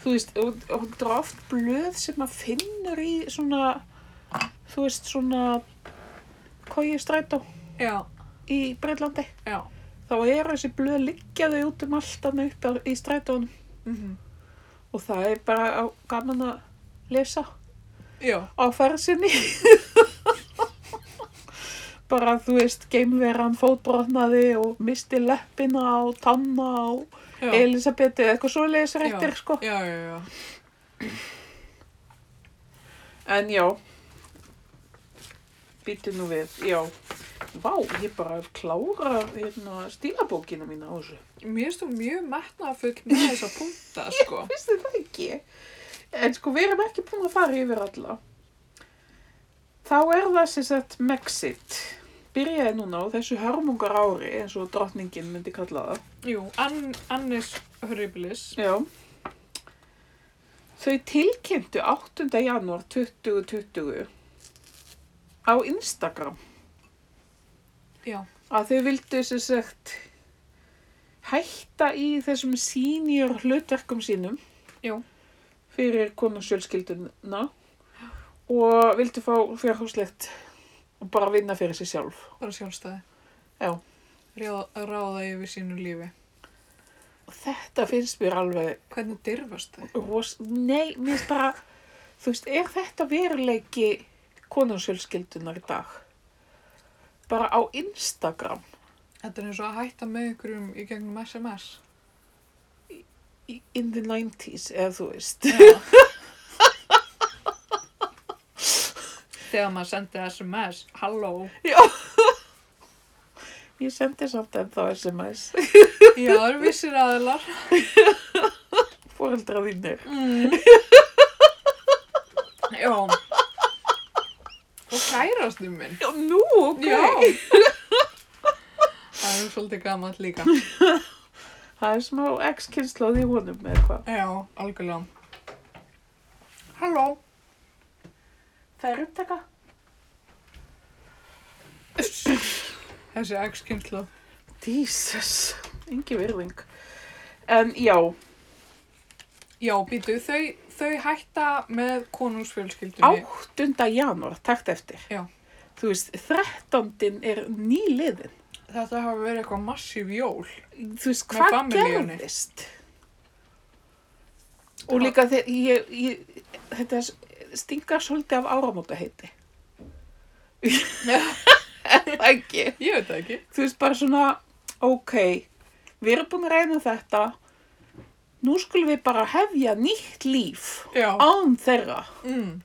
þú veist, og, og þetta er oft blöð sem maður finnur í svona þú veist, svona kóið strætó já, í Breitlandi já þá eru þessi blöð liggjaðu út um allt hann upp á- í strætónum mm og það er bara á, gaman að lesa Já, á fersinni (laughs) bara þú veist, geimveran fótbrotnaði og misti leppina og tanna og já Elisabethu eða eitthvað svoleiðis réttir sko Já, já, já En já, býtu nú við, já. Vá, ég bara klára hérna, stílabókina mína á þessu. Mér finnst þú mjög metnafull með þessa punkta, sko Vistu það ekki? En sko, við erum ekki búin að fara yfir alla. Þá er það sem sagt Mexit. byrjaði núna á þessu hörmungar ári eins og drottningin myndi kalla það. Jú, Ann, Annis Horribilis. Já. Þau tilkynntu 8. janúar 2020 á Instagram Já. að þau vildu sem sagt hætta í þessum senior hlutverkum sínum Já. fyrir konungsjölskylduna og vildu fá fjárhúslegt og bara vinna fyrir sér sjálf. Bara sjálfstæði. Já. Ráða, ráða yfir sínu lífi. Og þetta finnst mér alveg Hvernig dyrfast þau? Ros, nei, mér finnst bara, þú veist, er þetta veruleiki konungsfjölskyldunar í dag? Bara á Instagram? Þetta er eins og að hætta með ykkurum í gegnum SMS. í- In the 90s, eða þú veist. Þegar maður sendi SMS, halló. (laughs) Já. Ég sendi samt ennþá SMS. Já, það eru vissir aðilar. Fóreldra þínir. Mm. Já. Og kærastu minn. Já, nú, ok. Já. Það er svolítið gaman líka. Það er smá ex-kynnslóð í honum eða hvað. Já, algjörlega. Halló. Það er upptaka. Þessi X-kynslu. Jesus, engi virðing. En já, Já, býtu, þau, þau hætta með konungsfjölskyldunni. 8. janúar, takt eftir. Já. Þú veist, 13. er nýliðin. Þetta hafa verið eitthvað massíf (laughs) jól. Þú Með veist, hvað familíunni. gerðist? Og líka þegar ég, ég, þetta stingar svolítið af áramóta heiti. Ekki. Ég veit það (laughs) ekki. Þú veist, bara svona, ok, við erum búin að reyna þetta. Nú skulum við bara hefja nýtt líf Já. án þeirra. Mm.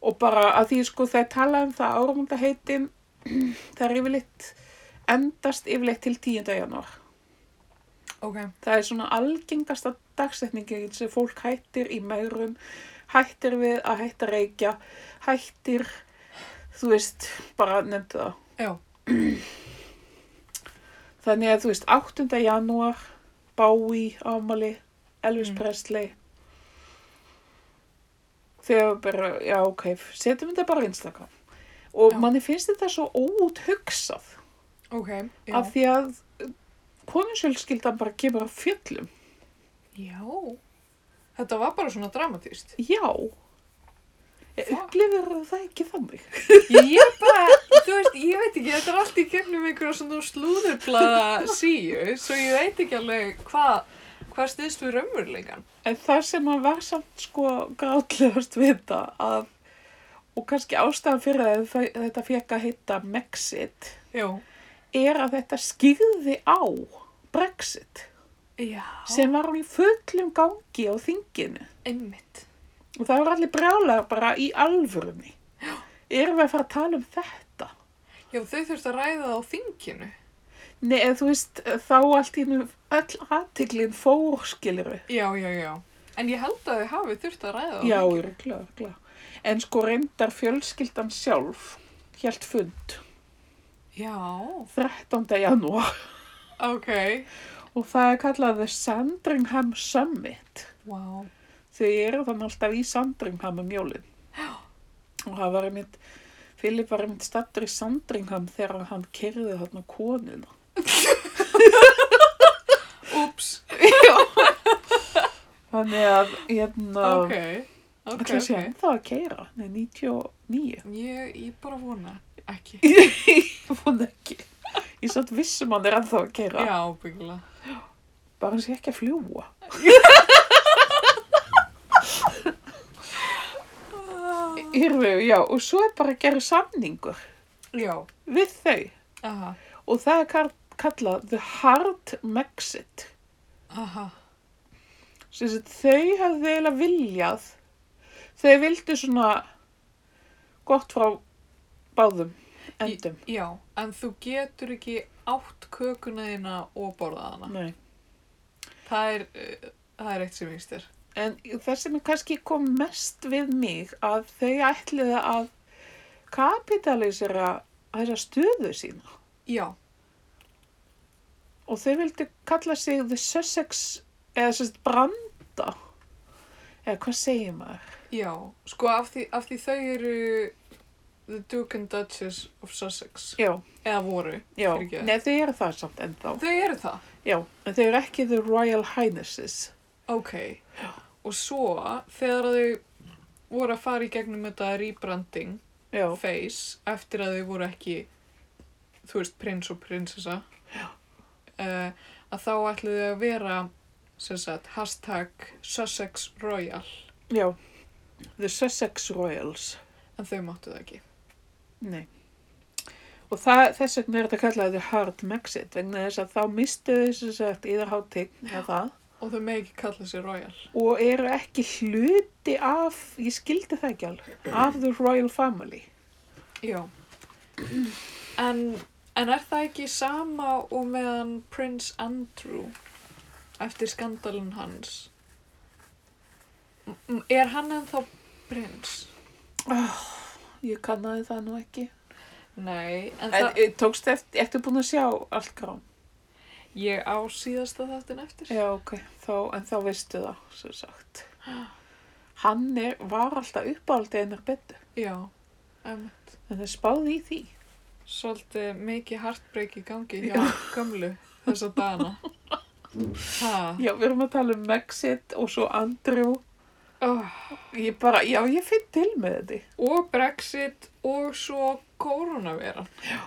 og bara að því sko þegar talað um það áramönda heitin (clears throat) það er yfirleitt endast yfirleitt til 10. janúar Ok. það er svona algengasta dagsetningin sem fólk hættir í megrun hættir við að hætta að reykja hættir þú veist, bara nefndu það Já. þannig að þú veist 8. janúar Bowie, Amali, Elvis Mm. Presley þegar bara, já ok setjum þetta bara á Instagram og Já. manni finnst þetta svo óút hugsað Ok. Já. af því að kominsjölskyldan bara kemur á fjöllum Já. Þetta var bara svona dramatíst. já Fuck. upplifir það ekki þannig (laughs) Ég bara, þú veist, ég veit ekki, þetta er allt í gegnum einhverja svona slúðurblaða síu, svo ég veit ekki alveg hvað hva stiðst við raunveruleikan. En það sem hann var samt sko grátlegast við þetta að, og kannski ástæðan fyrir að þa- þetta fekk að heita Mexit, Já. er að þetta skýrði á Brexit Já. sem var hann í fullum gangi á þinginu. Einmitt. Og það var allir brjálega bara í alvörunni. Erum við að fara að tala um þetta? Já, þau þurftu að ræða það á þinginu. Nei, eða þú veist, þá allt í nú öll aðtiklinn fórskiliru. Já, já, já. En ég held að þau hafi þurftu að ræða það á Já, þinginu. örgulega, örgulega. En sko reyndar fjölskyldan sjálf hjælt fund Já. 13. janúar Ok. og það er kallað The Sandringham Summit. Wow. Þau eru þannig alltaf í Sandringham um jólin. Og það var einmitt, Filip var einmitt stattur í Sandringham þegar hann kerði þarna konuna. Úps. Þannig að, hérna, Ok. okay, Ok, okay, sé ok. hann þá að keira, nei, 99, Ég, ég bara vona ekki. hún ekki. Ég satt vissum hann er ennþá að keira. Já, byggulega. bara hann sé ekki að fljúa. Írfu, já, og svo er bara að gera samningur Já, við þau aha, og það er kall- kallað The Hard Brexit. aha, Sem sagt, þau hefðu eiginlega viljað, þau vildu svona gott frá báðum endum. já, en þú getur ekki átt kökuna þína og borðað hana. Nei. Það er, uh, það er eitt sem yngst er. En það sem er kannski kom mest við mig að þau ætliði að kapitalisera æra stöðu sína Já, og þau vildu kalla sig The Sussex eða sérst Branda eða hvað segir maður? já. Sko af því, af því þau eru The Duke and Duchess of Sussex. Já, Eða voru. já, Fyrirgefðu. neð þau eru það samt ennþá Þau eru það. Já, en þau eru ekki The Royal Highnesses Ok, og svo þegar þau voru að fara í gegnum þetta rebranding Já, face eftir að þau voru ekki, þú veist, prins og prinsessa, uh, að þá ætluðu þau að vera, sem sagt, hashtag Sussex Royal, já The Sussex Royals en þau máttu það ekki. Nei. Og það, þess vegna er þetta kallað The Hard Brexit, vegna þess að þá mistu þess að sagt yður hátign að það Og þau megi ekki kalla sér Royal. og eru ekki hluti af, ég skildi það ekki alveg, af The Royal Family. Já. En, en er það ekki sama og meðan prins Andrew eftir skandalinn hans? M- m- Er hann ennþá prins? Ég kannaði það nú ekki. Nei, en, En það, það... tókst eftir, ertu búin að sjá allt grám? ég á síðasta þáttin eftir. Já, ok, þá, en þá veistu það, sem sagt. Hann er, var alltaf uppáhaldið hennar betur, Já, emmitt. en það spáði í því. Svolítið mikið hartbreyki í gangi hjá gömlu þessa dana. Ha, Já, við erum að tala um Brexit og svo Andrew. oh, Ég bara, já, ég finn til með þetta. og Brexit og svo koronaviran. Já.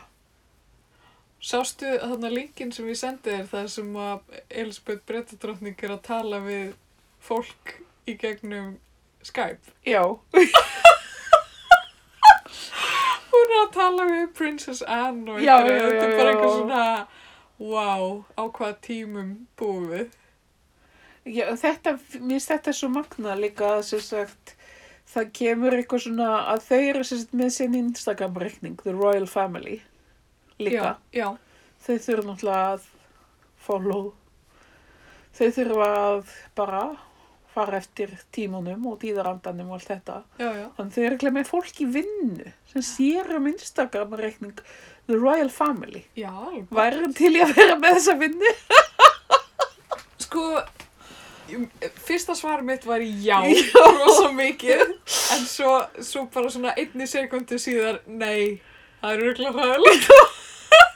Sástu þarna linkin sem ég sendi þér þar sem að Elisabeth Brettadrottning er að tala við fólk í gegnum Skype. Já, Hún er að tala við Princess Anne og Já, einhverja. já, já, þetta er bara eitthvað já. svona, wow, á hvaða tímum búum við. já þetta, mér finnst þetta svo magna líka að sem sagt, það kemur eitthvað svona að þau eru sem sagt með sinn Instagram-reikning, The Royal Family, líka. Já, já. Þau þurfa náttúrulega að follow. Þau þurfa að bara fara eftir tímanum og tíðarandanum og allt þetta. Já, já. Þannig þau eru ekki með fólk í vinnu sem sér um Instagram-reikning The Royal Family. Já, alveg. Værum til í að vera með þessa vinnu? Sko, ég- fyrsta svar mitt var já, Já. rosa mikið, en svo, svo bara svona einni sekundu síðar, nei, það er örgulega hræðilegt. (laughs)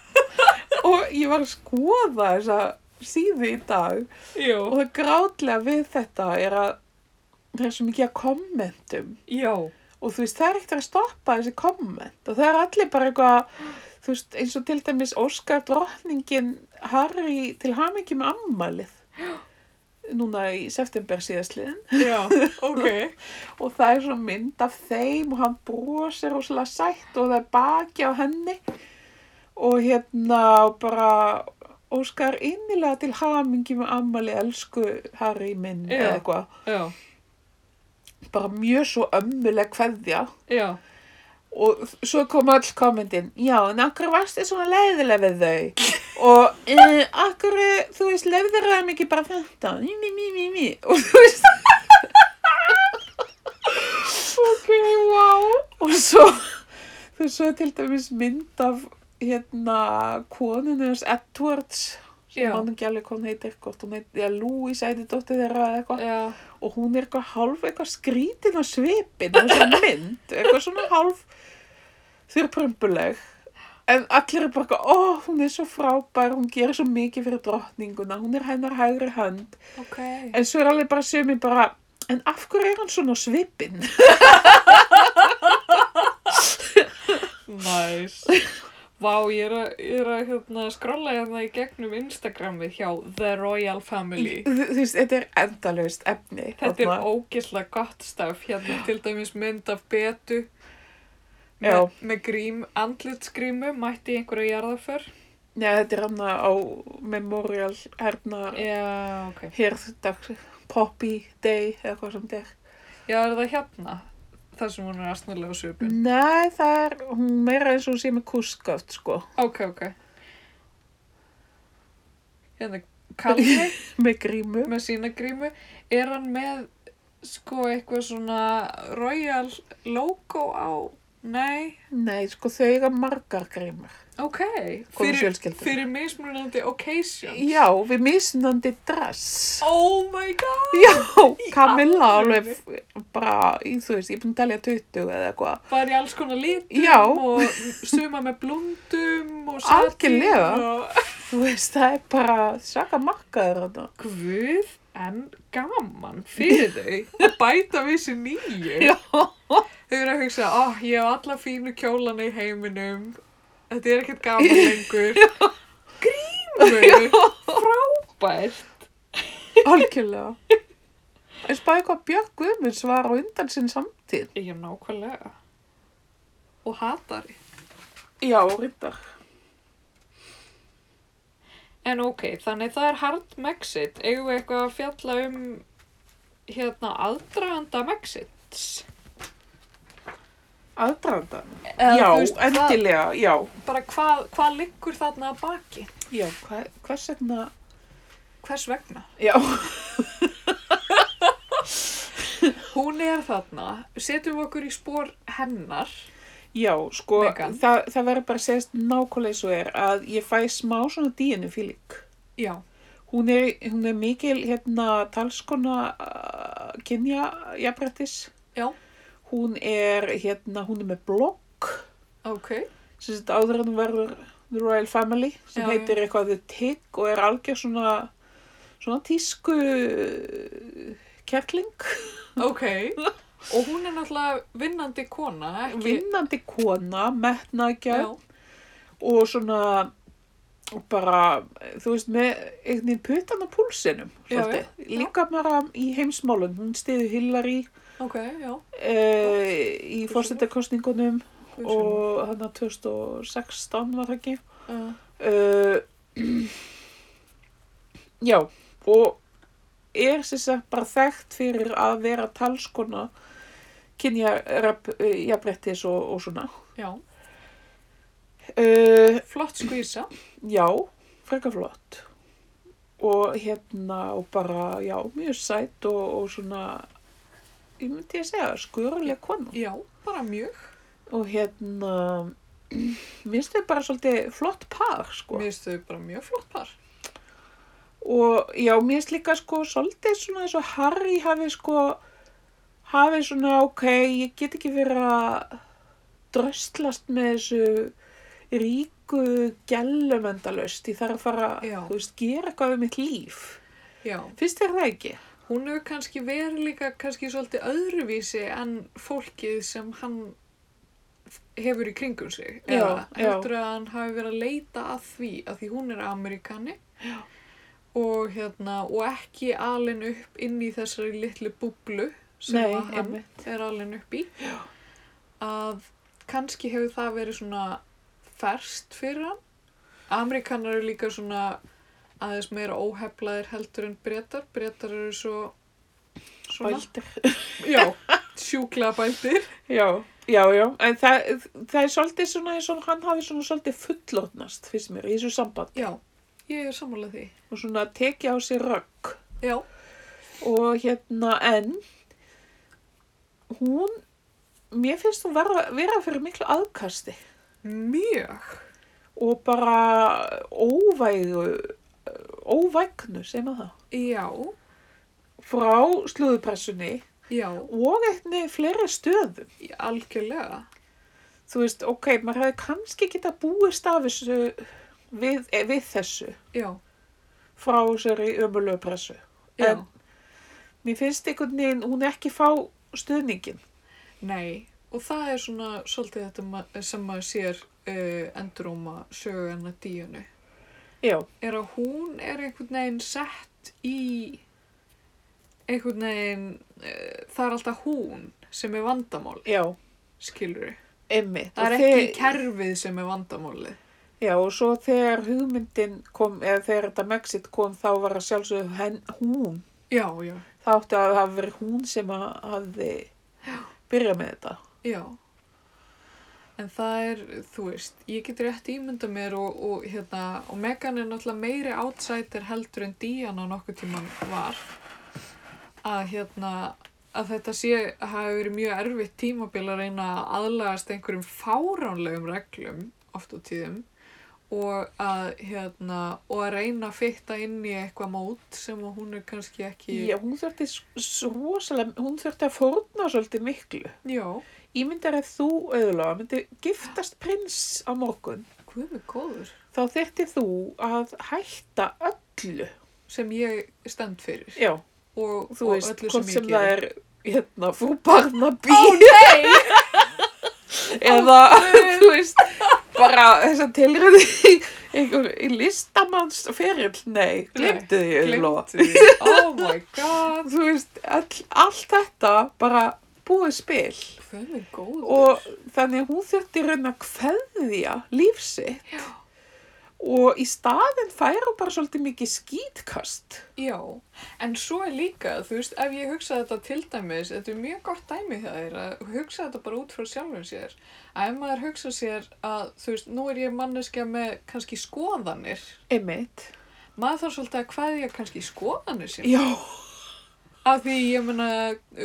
og ég var að skoða þessa síðu í dag Jú, og það grátlega við þetta er að það er svo mikið að kommentum já, og þú veist það er ekkert að stoppa þessi komment og það er allir bara eitthvað þú veist eins og til dæmis Óskar drottningin Harry til hamingi með ammælið núna í september síðastliðin já, ok, og það er svo mynd af þeim og hann brosir rosalega sætt og það er baki á henni og hérna bara Óskar innilega til hamingi með ammali elsku Harry minn Já. eða eitthvað já, bara mjög svo ömmuleg kveðja já, og svo kom all kommentin já, en akkur varst þið svona leiðileg við þau og uh, akkur þú veist, leiðir þeim ekki bara þetta mí, mí, mí, mí, mí (laughs) og þú veist ok, wow og svo þú svo er til dæmis mynd af hérna koninu hans Edwards sem Já. hann ekki alveg hvað hún heitir hvort hún heitir, já, Louise heitir dóttir þeirra eða eitthvað já, og hún er eitthvað hálf eitthvað skrítin á svipin (laughs) þessar mynd, eitthvað svona hálf þurrprumpuleg en allir er bara eitthvað, ó, hún er svo frábær hún gerir svo mikið fyrir drottninguna hún er hennar hægri hönd ok. en svo er alveg bara sömi bara en af hverju er hann svona á svipin Næs. Vá, ég er að, ég er að hérna, skrolla hérna í gegnum Instagramið hjá The Royal Family. (laughs) þú þú veist, þetta er endalaust efni Þetta er þarna. ógislega gott staf, hérna til dæmis mynd af betu Já. með, með grím, andlitsgrímu, mætti í einhverja jarðaför. Já, þetta er hann á Memorial herna Já, ok. hérðdag Poppy Day eða hvað sem þetta er Já, er það hérna? þar sem hún er astnulega á svipin. Nei, það er, hún meira eins og hún sé með kúskátt, sko. Ok, ok. Hérna, (laughs) Kalli Með grímu. með sína grímu, er hann með sko eitthvað svona royal logo á Nei, Nei, sko þau eiga margar grímur. ok. Góð Fyrir, fjölskylda. fyrir mismunandi occasion. Já, við misnandi dress. Oh my god! Já, Camilla alvöru? alveg f- bara, í- þú veist, ég er búin að telja 20 eða eitthvað. Bara í alls konar litum Já. og suma með blundum og satín Algjörlega. og... Þú veist, það er bara svaka markaður (laughs) þarna. Guð en gaman fyrir þau að bæta við sér nýju. Já. Þau eru að hugsa, oh, ég hef alla fínu kjólana í heiminum, þetta er ekkert gaman lengur. Grímur, frábært. Algjörlega. En spáði hvað Björk Guðmunds var á undan sinn samtíð. Ég er nákvæmlega. Og hatari. Já, reyndar. En ok, þannig það er hard Brexit. Eigum við eitthvað að fjalla um hérna aðdraganda Brexits? Aðdraðan. Eða, já, þú veist, hvað- endilega, já. Bara hvað, hvað liggur þarna að baki? Já, hva, hvers vegna? Hvers vegna? Já. Hún er þarna, setjum við okkur í spór hennar. Já, sko, Megan. það, það verður bara að segja nákvæmlega svo er að ég fæ smá svona díinu fílik. Já, Hún er, hún er mikil hérna talskona uh, kynja jafnrættis. já, Hún er hérna, hún er með blogg ok. sem þetta áður en hún verður The Royal Family sem Já, já. heitir eitthvað The Tick og er algjör svona, svona tísku uh, kjærling. Ok. (laughs) Og hún er náttúrulega vinnandi kona, ekki? Vinnandi kona, metnagjörn. Já, og svona og bara, þú veist, með einhvern veginn putan á púlsinum Já, svolítið. já, já. líka bara í heimsmálun hún stiði Hillary ok, já. uh, í Guð sé fórsetakostningunum Guð sé lof. og hann að 2016 var það ekki Já. uh, (clears throat) já, og er sem sagt bara þekkt fyrir að vera talskona kynjarrep, jafnbrettis og, og svona já, uh, flott skvísa. Já, frekar flott. Og hérna, og bara, já, mjög sætt og, og svona, ég myndi að segja, skuruleg konu. Já, bara mjög. Og hérna, (clears throat) minnst þau bara svolítið flott par, sko. Mér finnst þau bara mjög flott par. Og já, minnst líka, sko, svolítið svona eins og Harry hafi, sko, hafi svona, ok, ég get ekki verið að dröstlast með þessu ríku gælum endalaust. Ég þarf að fara, Já. þú veist, gera eitthvað um mitt líf. Já. Finnst þér það ekki? Hún hefur kannski verið líka kannski svolítið öðruvísi en fólkið sem hann hefur í kringum sig. Já, Eða já. heldur að hann hafi verið að leita að því að því hún er Amerikani og, hérna, og ekki alin upp inn í þessari litlu búblu sem Nei, að hann einmitt. er alin upp í. Já. Að kannski hefur það verið svona ferskt fyrir hann. Amerikanar eru líka svona aðeins meira óheflaðir heldur en breytar. Breytar eru svo svona, Bæltir. (laughs) já, sjúklega bæltir. Já, já, já. En það, það er svolítið svona eins og hann hafi svona svolítið fullorðnast, finnst mér, í þessu samband. Já, ég er sammálað því. Og svona tekið á sér rögg. Já, Og hérna, en hún, mér finnst hún vera, vera fyrir miklu aðkasti. mjög. Og bara óvægu, óvægnu, segir maður það. Já, Frá slúðupressunni já, og eitthvað fleiri stöðum. algjörlega. þú veist, ok, maður hefði kannski geta búist af þessu við, eh, við þessu Já, frá þessari ömulegu pressu. já. En- Mér finnst einhvern veginn, hún ekki fá stuðningin. Nei, og það er svona svolítið þetta ma- sem maður sér uh, enduróma söguna díunu. Já, Er að hún er einhvern veginn sett í einhvern veginn, uh, það er alltaf hún sem er vandamál, já, skilur við. emmi. Það er ekki kerfið sem er vandamálið. Já, og svo þegar hugmyndin kom, eða þegar þetta Mexit kom, þá var að sjálfsögðu henn, hún. Já, já, Það átti að hafa verið hún sem að hafði byrjað með þetta. já. En það er, þú veist, ég get rétt ímynda mér og, og hérna, og Megan er náttúrulega meiri outsider heldur en Diana nokkuð tíman var. Að hérna, að þetta sé að hafa verið mjög erfitt tímabil að reyna að aðlagast einhverjum fáránlegum reglum oft á tíðum og að, hérna, og að reyna að fitta inn í eitthvað mót sem að hún er kannski ekki Já, hún þurfti svosalega, hún þurfti að fórna svolítið miklu. Já, Ég myndi að ef þú auðvitað myndi giftast prins á morgun, hvað er góður þá þyrfti þú að hætta öllu. sem ég stend fyrir Já, og, þú og veist, öllu hvort sem ég sem geri. það er hérna, frú Barnaby nei! (laughs) eða, þú veist, bara þess að tilröði einhver í listamannsferill, nei, glemdu því, auðvitað. Gleymdu því. Oh (laughs) my god. Þú veist, all, allt þetta bara búið spil Hvað er góður? og þannig að hún þurfti í raun að kveðja líf sitt og í staðin fær hún bara svolítið mikið skítkast. Já, en svo er líka, þú veist, ef ég hugsa þetta til dæmis, þetta er mjög gott dæmi hjá þér að hugsa þetta bara út frá sjálfum sér. Að ef maður hugsa sér að, þú veist, nú er ég manneskja með kannski skoðanir, Einmitt. maður þarf svolítið að kveðja kannski skoðanir sín. Já. Af því, ég meina,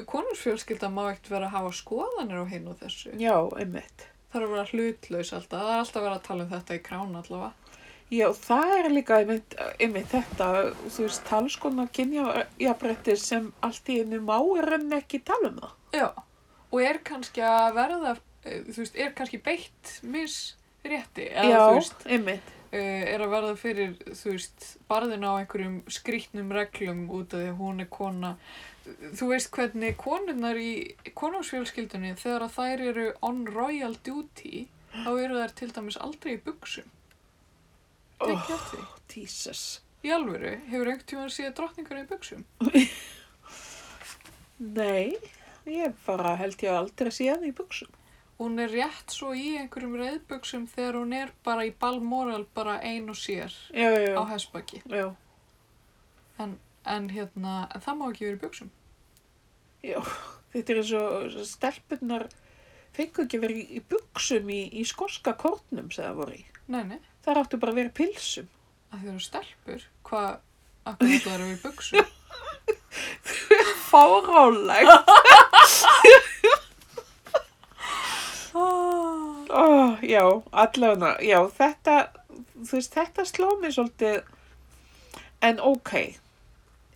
konungsfjölskylda má ekkert vera að hafa skoðanir á hinn og þessu. Já, einmitt. Það er að vera hlutlaus alltaf, það er alltaf að vera að tala um þetta í krán allavega. Já, það er líka einmitt, einmitt þetta, þú veist, talskona kynjabrettir sem allt í einu má er enn ekki tala um það. Já, og er kannski að verða, eh, þú veist, er kannski beitt misrétti eða þú veist, einmitt. eh, er að verða fyrir, þú veist, barðin á einhverjum skrýtnum reglum út af því að hún er kona. Þú veist hvernig konurnar í konungsfjölskyldunni þegar að þær eru on royal duty, þá eru þær til dæmis aldrei í buksum. Það er ekki eftir því. Oh, Jesus. Í alvöru, hefur einhvern tímann séð drottningar í buksum? Nei, ég bara held ég aldrei síðan í buksum. Hún er rétt svo í einhverjum reyðbuksum þegar hún er bara í Balmoral bara ein og sér. Já, já, á já. hessbakki Já, en hérna, en það má ekki verið buksum já. Þetta er eins og stelpunnar fengu ekki verið í- í buksum í, í skoska kornum sem það voru í. nei, nei, Það ráttu bara að vera í pilsum. að þau eru stelpur hvað, akkur þetta er að verið (laughs) buksum (laughs) Fáránlegt. oh. Oh, já, allavega, já, þetta, þú veist, þetta sló mér svolítið, en ok,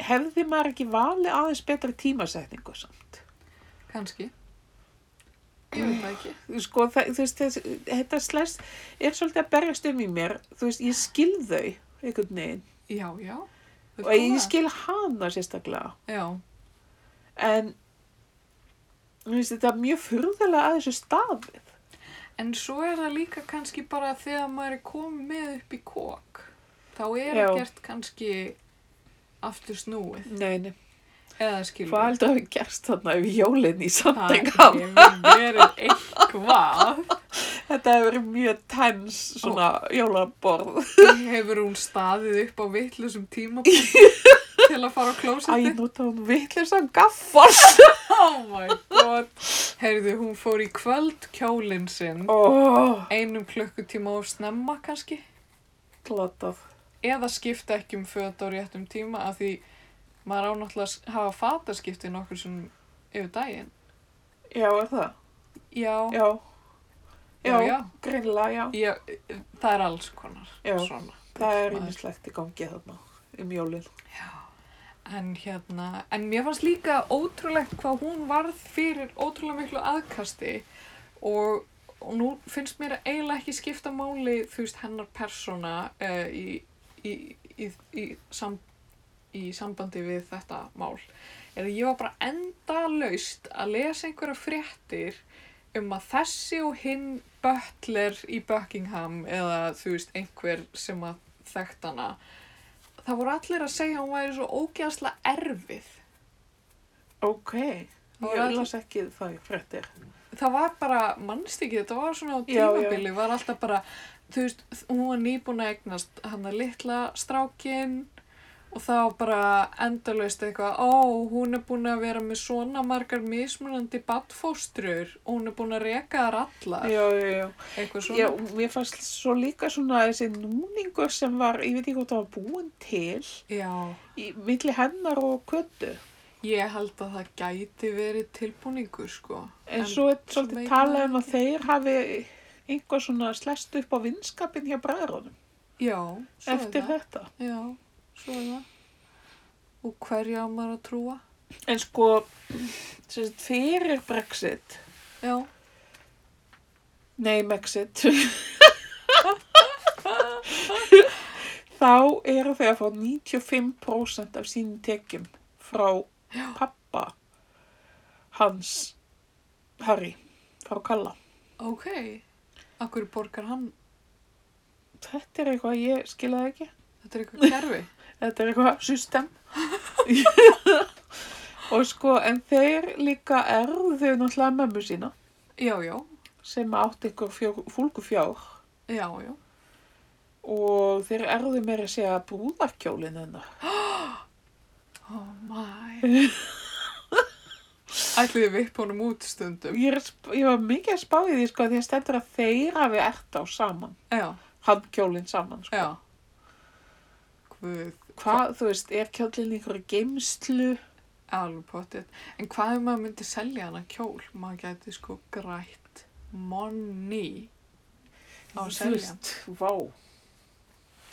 hefði maður ekki valið aðeins betri tímasetningu samt? kannski ég veit það ekki Þú Sko, það, þú veist, þess, þetta slæst er svolítið að berjast um í mér, þú veist, ég skil þau einhvern veginn já, já, Vilt og þú ég það? skil hana sérstaklega, já, en, þú veist, þetta er mjög furðalega að þessu stafið. en svo er það líka kannski bara þegar maður er komið með upp í kók þá er Já. ekkert kannski aftur snúið Nei, nei, eða skilur hvað heldur að við gerst þarna yfir jólinn í það samtækam? hefur verið eitthvað Þetta hefur verið mjög tens svona jólaborð. hefur hún staðið upp á vittlusum (laughs) tímapunkt til að fara á Æ, (laughs) klósetti nú það hún vitleysan gaffars. oh my god heyrðu hún fór í kvöld kjólinn sinn Ó, einum klukkutíma of snemma kannski glatað. eða skipta ekki um föt á réttum tíma af því maður á náttúrulega að hafa fataskipti nokkur sem yfir daginn Já, er það? já, Já. Já, já, já. greinlega, já. Já, það er alls konar Já. svona Það er Maður. einmislegt í gangi þarna um jólinn. En hérna, en mér fannst líka ótrúlegt hvað hún varð fyrir ótrúlega miklu aðkasti og, og nú finnst mér eiginlega ekki skipta máli, þú veist, hennar persóna uh, í, í, í, í, sam, í sambandi við þetta mál. Er að ég var bara enda laust að lesa einhverja fréttir um að þessi og hinn bötler í Buckingham eða þú veist, einhver sem að þekkt hana Það voru allir að segja að hún væri svo ógeðslega erfið. Ok. Það Ég var all- las ekki það fréttir. Það var bara, mannst ekki, þetta var svona á Já, já. tímabili, var alltaf bara, þú veist, hún var nýbúin að egnast hann að litla strákin og þá bara endalaust eitthvað, ó, hún er búin að vera með svona margar mismunandi badfóstrur og hún er búin að reka þar allar, Já, já, já. eitthvað svona. Já, mér fannst svo líka svona þessi núningur sem var, ég veit ekki hvort það var búin til, Já, í milli hennar og köttu. Ég held að það gæti verið tilbúningur, sko. En En svo er veit maður svolítið talað um að þeir hafi einhver svona slest upp á vinskapin hjá bræðrunum Já, svo eftir er það. þetta. Já, svo er það. Og hverja á maður að trúa? En sko, sem sagt, fyrir Brexit, Já. nei Brexit, þá eru þau að fá 95% af sínum tekjum frá pappa hans Harry, frá Kalla. Ok. Akkur borgar hann? Þetta er eitthvað ég skilaði ekki. Þetta er (laughs) eitthvað kerfi. Þetta er eitthvað system. og sko, en þeir líka erðu náttúrulega mömmu sína já, já. sem átti ykkur fjör, fólku fjár Já, já. og þeir erðu meira að segja brúðarkjólinn hennar. Oh (laughs) my. Ætliði við upp honum út stundum. Ég, er að sp- ég var mikið að spá í því sko því að stendur að þeir hafi ert á saman, Já, hann kjólinn saman sko. já. Guð, Hvað, þú veist, er kjólinn ykkur geimslu? alveg potið. En hvað ef maður myndi selja hana kjól? Maður gæti sko grætt money á að Þú selja. hann. veist, Vá.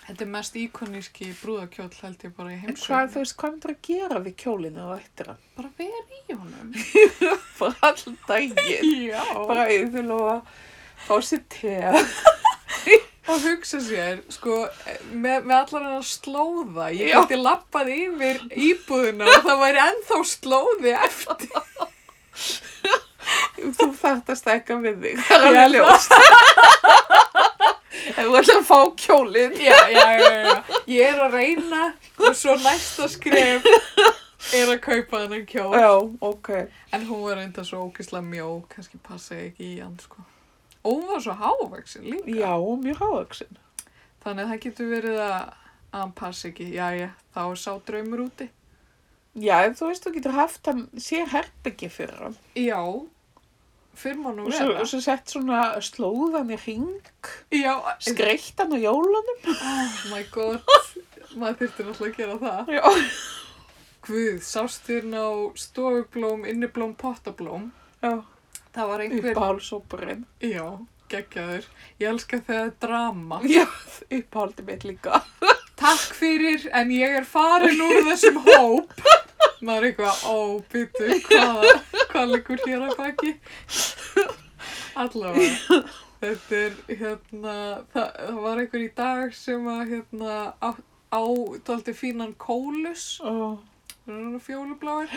Þetta er mest íkoníski brúðakjól held ég bara í En hvað, heimsögn. þú veist, hvað myndir að gera við kjólinn á eftir hann? Bara verið í honum. Bara allan daginn. Já. bara auðvitað að fá sér te Og hugsa sér, sko, með, með allar hennar slóða, ég Já. gæti lappað yfir íbúðuna og það væri ennþá slóði eftir. þú þarft að stækka við þig það er Ég held alveg ljóst ef þú ætlar að fá kjólinn Já, já, já, já, já. Ég er að reyna og svo næsta skref er að kaupa hennar kjól. já, ok En hún var reynda svo ógislega mjó, kannski passaði ekki í hann, sko. Og hún var svo hávaksin líka. já, mjög hávaksin Þannig að það getur verið að, að hann passi ekki. Já, já, þá er sá draumur úti. já, en þú veist, þú getur haft hann sér herbyggi fyrir hann Já, fyrir má nú og svo, vera. og svo sett svona slóðan í ring Já, skreitt hann á jólanum Oh my god, maður þurfti náttúrulega að gera það. já, Guð, sástu hérna á stofublóm, inniblóm, pottablóm. já Það var einhver... uppáhaldsópurinn Já, geggjaður. Ég elska þegar drama. já, uppáhaldi mitt líka Takk fyrir, en ég er farin úr þessum hóp. Maður er eitthvað, ó, býtu, hvað, hvað liggur hér að baki? Allavega. Þetta er, hérna, það, það var einhver í dag sem að, hérna, á, á, tóldi fínan kólus oh. Hún er svona fjólubláir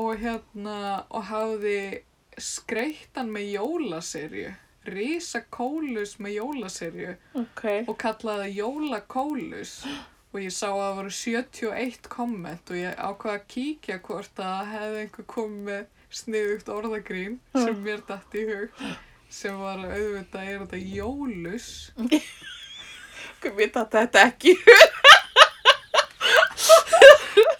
og hérna og hafði skreittan með jólaserju risakólus með jólaserju ok, og kallaði jólakólus og ég sá að það voru 71 komment og ég ákvaði að kíkja hvort að það hefði einhver komið með sniðugt orðagrín sem mér dætti í hug sem var auðvitað er þetta jólus við vita þetta ekki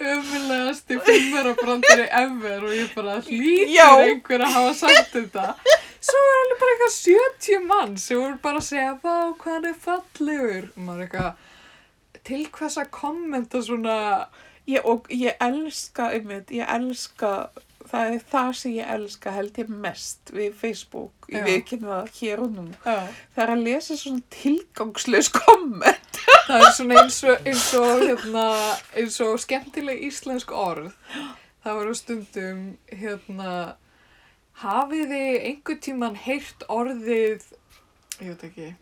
ömulegasti fimmunabrandari ever og ég bara hlýtur Já. einhver að hafa sagt þetta. Svo er alveg bara eitthvað 70 mann sem voru bara að segja Vá, hvað hann er fallegur. Og Maður er eitthvað, til hvers að kommenta svona, Ég, og ég elska, einmitt, ég elska, það er það sem ég elska held ég mest við Facebook, Já. ég viðkynna það hér og nú. já. Það er að lesa svona tilgangslaus komment. það er svona eins og, eins og, hérna, eins og skemmtileg íslensk orð. Það voru stundum, hérna, hafið þið einhver tíman heyrt orðið, ég veit ekki,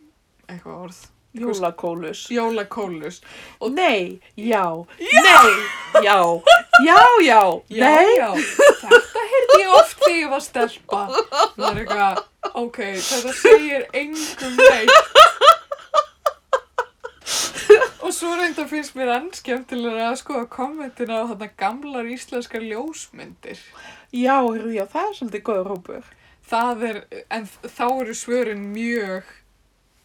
eitthvað orð. Jólakólus. Jólakólus. Og- Nei, já, nei, já, já, já, Já, nei. já, þetta heyrði ég oft þegar ég var stelpa. Það er eitthvað, ok, þetta segir engum neitt. Og svo reyndar finnst mér enn skemmtilega að skoða kommentina á þarna gamlar íslenskar ljósmyndir. Já, heyrðu, já, það er svolítið góður hópur. Það er, en þá eru svörin mjög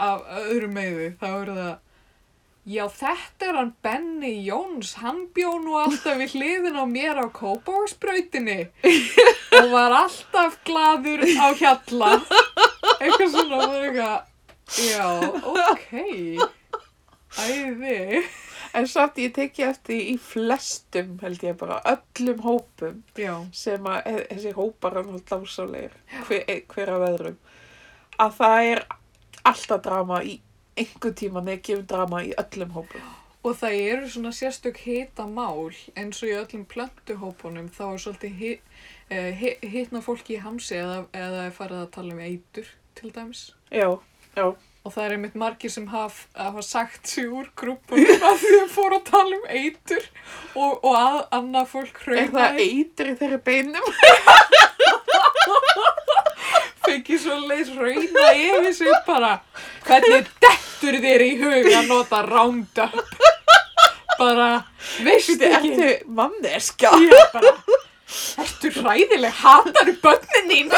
af öðru meði. Þá eru það, já þetta er hann Benny Jóns, hann bjó nú alltaf við hliðin á mér á Kópávarsbrautinni og var alltaf gladur á hjalla. Eitthvað svona, það er eitthvað, já, ok, æði. En samt ég teki eftir í flestum, held ég bara, öllum hópum Já, sem að e- þessi hópar er náttúrulega dásalegir, hver, e- hver af öðrum, að það er alltaf drama í einhver tíma neða gefum drama í öllum hópum. og það eru svona sérstök hita mál eins og í öllum plöntuhópunum þá er svolítið hi, eh, hi, hitna fólki í hamsi eða, eða er farið að tala um eitur til dæmis. Já, já, Og það er einmitt margir sem haf, hafa sagt sig úr grúpunum að þau fóru að tala um eitur og, og að annað fólk er það hrauna eitur í þeirri beinum? fengi svo leið hrauna yfir sig bara hvernig dettur þér í hug að nota roundup bara veist Þetta er ekki eftir manneska. ég bara ertu hræðileg, hataru bönnin þín (laughs)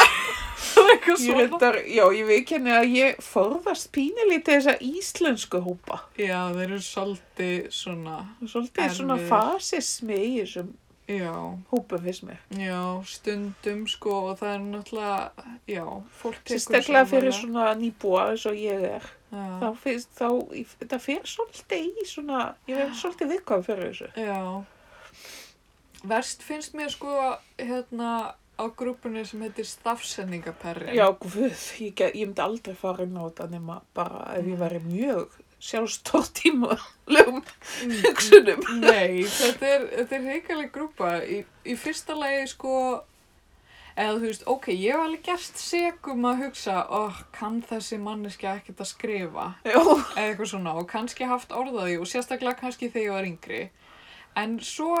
og eitthvað Ég svona reyndar, já, ég veikenni að ég forðast pínulítið þessa íslensku hópa. já, þeir eru svolítið svona Og Svolítið er svona Erfiðir. fasismi í þessum já hópum fyrst mér. Já, stundum sko og það er náttúrulega, já, fólk tekur Sérstaklega svo fyrir alvarlega. svona nýbúa eins og ég er. Já, Þá finnst þá, þetta fyrir svolítið í svona, ég verður svolítið viðkvæm fyrir þessu. já. Verst finnst mér sko hérna á grúpunni sem heitir stafsendingaperrin. Já, guð, ég, ge- ég myndi aldrei fara inn á þetta nema bara ef ég væri mjög sjálfstort í málum Mm. hugsunum. Nei, þetta er, þetta er heikaleg grúpa. Í, í fyrsta lagi sko, eða þú veist, ok, ég hef alveg gerst segum að hugsa, oh, kann þessi manneskja ekkert að skrifa? Já, eða eitthvað svona og kannski haft orðaði og sérstaklega kannski þegar ég var yngri en svo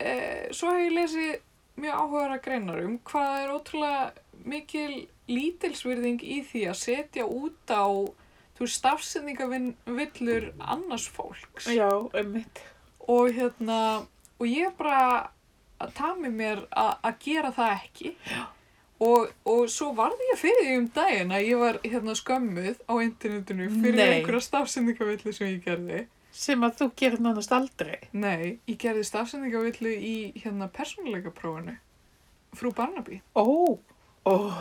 e, svo hef ég lesið mjög áhugaðar greinar um hvað er ótrúlega mikil lítilsvirðing í því að setja út á þú veist, stafsendingavillur annars fólks já, einmitt. og hérna og ég er bara að tami mér a- að gera það ekki og, og svo varði ég fyrir því um daginn að ég var hérna skömmuð á internetinu fyrir Nei. einhverja stafsendingavillu sem ég gerði Sem að þú gerir nánast aldrei. nei, ég gerði stafsendingavillu í hérna persónuleika prófinu frú Barnaby, Ó, ó.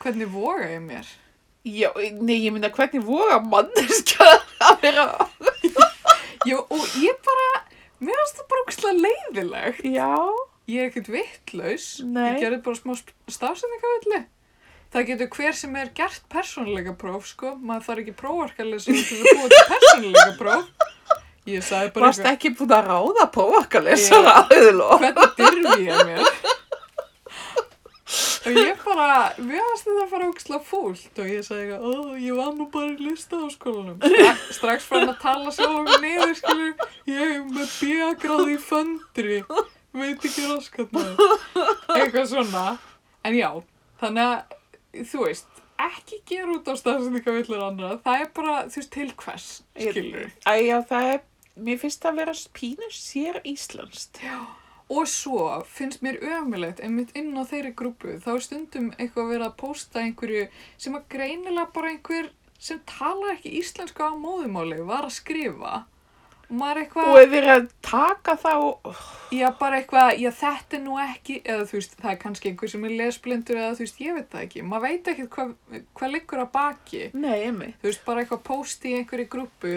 hvernig voga ég mér? Já, nei, ég myndi að hvernig voga manneska að vera... Já, og ég bara mér varst það bara ógustlega leiðilegt Já, ég er ekkert vittlaus Nei. ég gerði bara smá stafsendingavilli það getur hver sem er gert persónuleika próf sko, maður þarf ekki prófarkalins til að búa til persónuleika próf ég sagði bara varst ekki búin að ráða prófakalesara Já. aðeins hvernig dyrfi ég mér og ég bara við varst þetta að fara ógislega fúlt og ég sagði eitthvað, ó, ég var nú bara í lista á skólanum strax, strax fann að tala sjálf um niður, skilur, ég er með bíagráði í föndri veit ekki raskatnaði eitthvað svona en já, þannig að þú veist, ekki gera út á stafsendingavillur annara, það er bara þú veist til hvers, skilur Æja, það er, mér finnst það að vera pínu sér íslenskt. og svo finnst mér ömulegt einmitt inn á þeirri grúpu, þá er stundum eitthvað verið að pósta einhverju sem að greinilega bara einhver sem talar ekki íslensku á móðumáli var að skrifa og maður eitthvað Og ef við erum að taka þá, Já, bara eitthvað, já þetta er nú ekki, eða þú veist, það er kannski einhver sem er lesblindur eða þú veist, ég veit það ekki. Maður veit ekki hvað, hvað liggur að baki. nei, emi. Þú veist, bara eitthvað post í einhverju grúpu,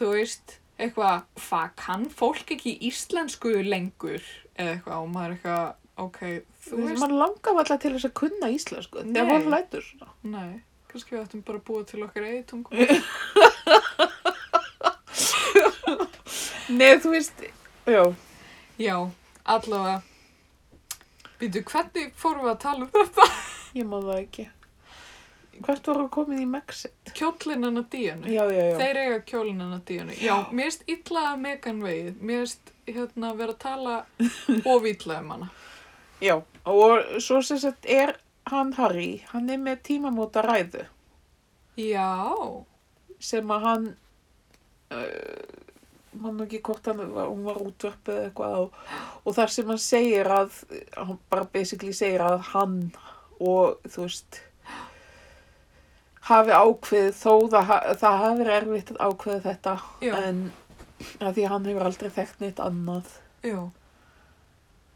þú veist, eitthvað, hvað kann fólk ekki íslensku lengur? Eða eitthvað, og maður er eitthvað, ok, þú Þú veist, veist, mann langar alltaf til þess að kunna íslensku, Nei. þegar hann lætur svona. nei, kannski við ættum bara að búa til okkar eigið tungum. Nei, þú veist, já, já, allavega. Býtu, hvernig fórum við að tala um þetta? ég má það ekki. Hvert voru komið í Mexit? Kjóllinn hennar díjanu. Já, já, já. Þeir eiga kjólinn hennar díjanu. Já, mér erst illa að megan vegið. Mér erst hérna vera að tala of illa um hana. Já, og svo sem sagt er hann Harry, hann er með tímamóta ræðu Já, sem að hann, uh, mann ekki hvort hann var, hún var útverfið eða eitthvað og, og þar sem hann segir að, hann bara basically segir að hann og þú veist, hafi ákveðið þó það, ha- það hafi verið erfitt að ákveða þetta Já. en að því að hann hefur aldrei þekkt neitt annað já.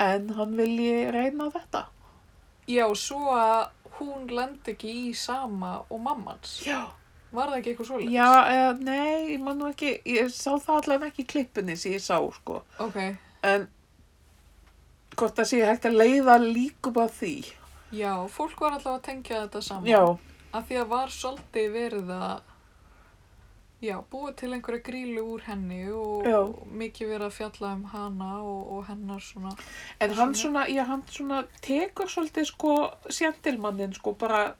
en hann vilji reyna þetta. Já, svo að hún lendi ekki í sama og mammans. Já. Var það ekki eitthvað svoleiðis? Já, eða, nei, ég man nú ekki, ég sá það allavega ekki í klippunni sem ég sá, sko. Ok, En hvort það sé hægt að leiða líkum að því. já, fólk var alltaf að tengja þetta saman. Já, Af því að var svolítið verið að, já, búa til einhverja grílu úr henni og Já. og mikið verið að fjalla um hana og, og hennar svona. en hann svona, já, hann svona tekur svolítið, sko, sjendilmannin, sko, bara,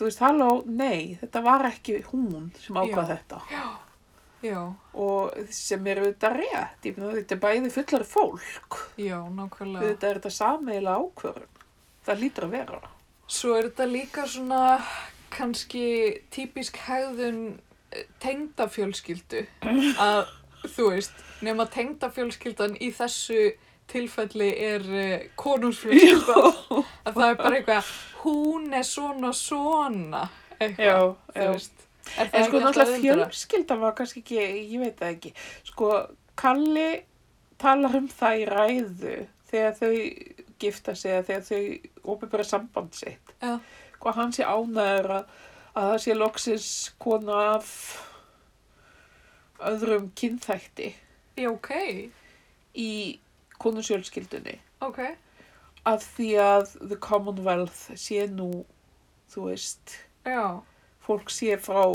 þú veist, halló, nei, þetta var ekki hún sem ákvað Já. þetta. Já, já, Og sem eru þetta rétt, ég meina þetta er bæði fullar fólk. já, nákvæmlega. Þetta er þetta sameila ákvörðun. Það lítur að vera. Svo er þetta líka svona kannski típisk hegðun eh, tengdafjölskyldu að þú veist, nema tengdafjölskyldan í þessu tilfelli er uh, konungsfjölskylda að það er bara eitthvað hún er svona svona eitthvað, þú veist er En sko ekki alltaf náttúrulega auðveldara? fjölskylda var kannski ekki, ég veit það ekki. Sko, Kalli talar um það í ræðu þegar þau gifta sig eða þegar þau opinbera samband sitt. Já. Hvað hann sé ánæður að, að það sé loksins kona af öðrum kynþætti já, ok, í konusjölskyldunni. ok Af því að the commonwealth sé nú, þú veist, já, fólk sé frá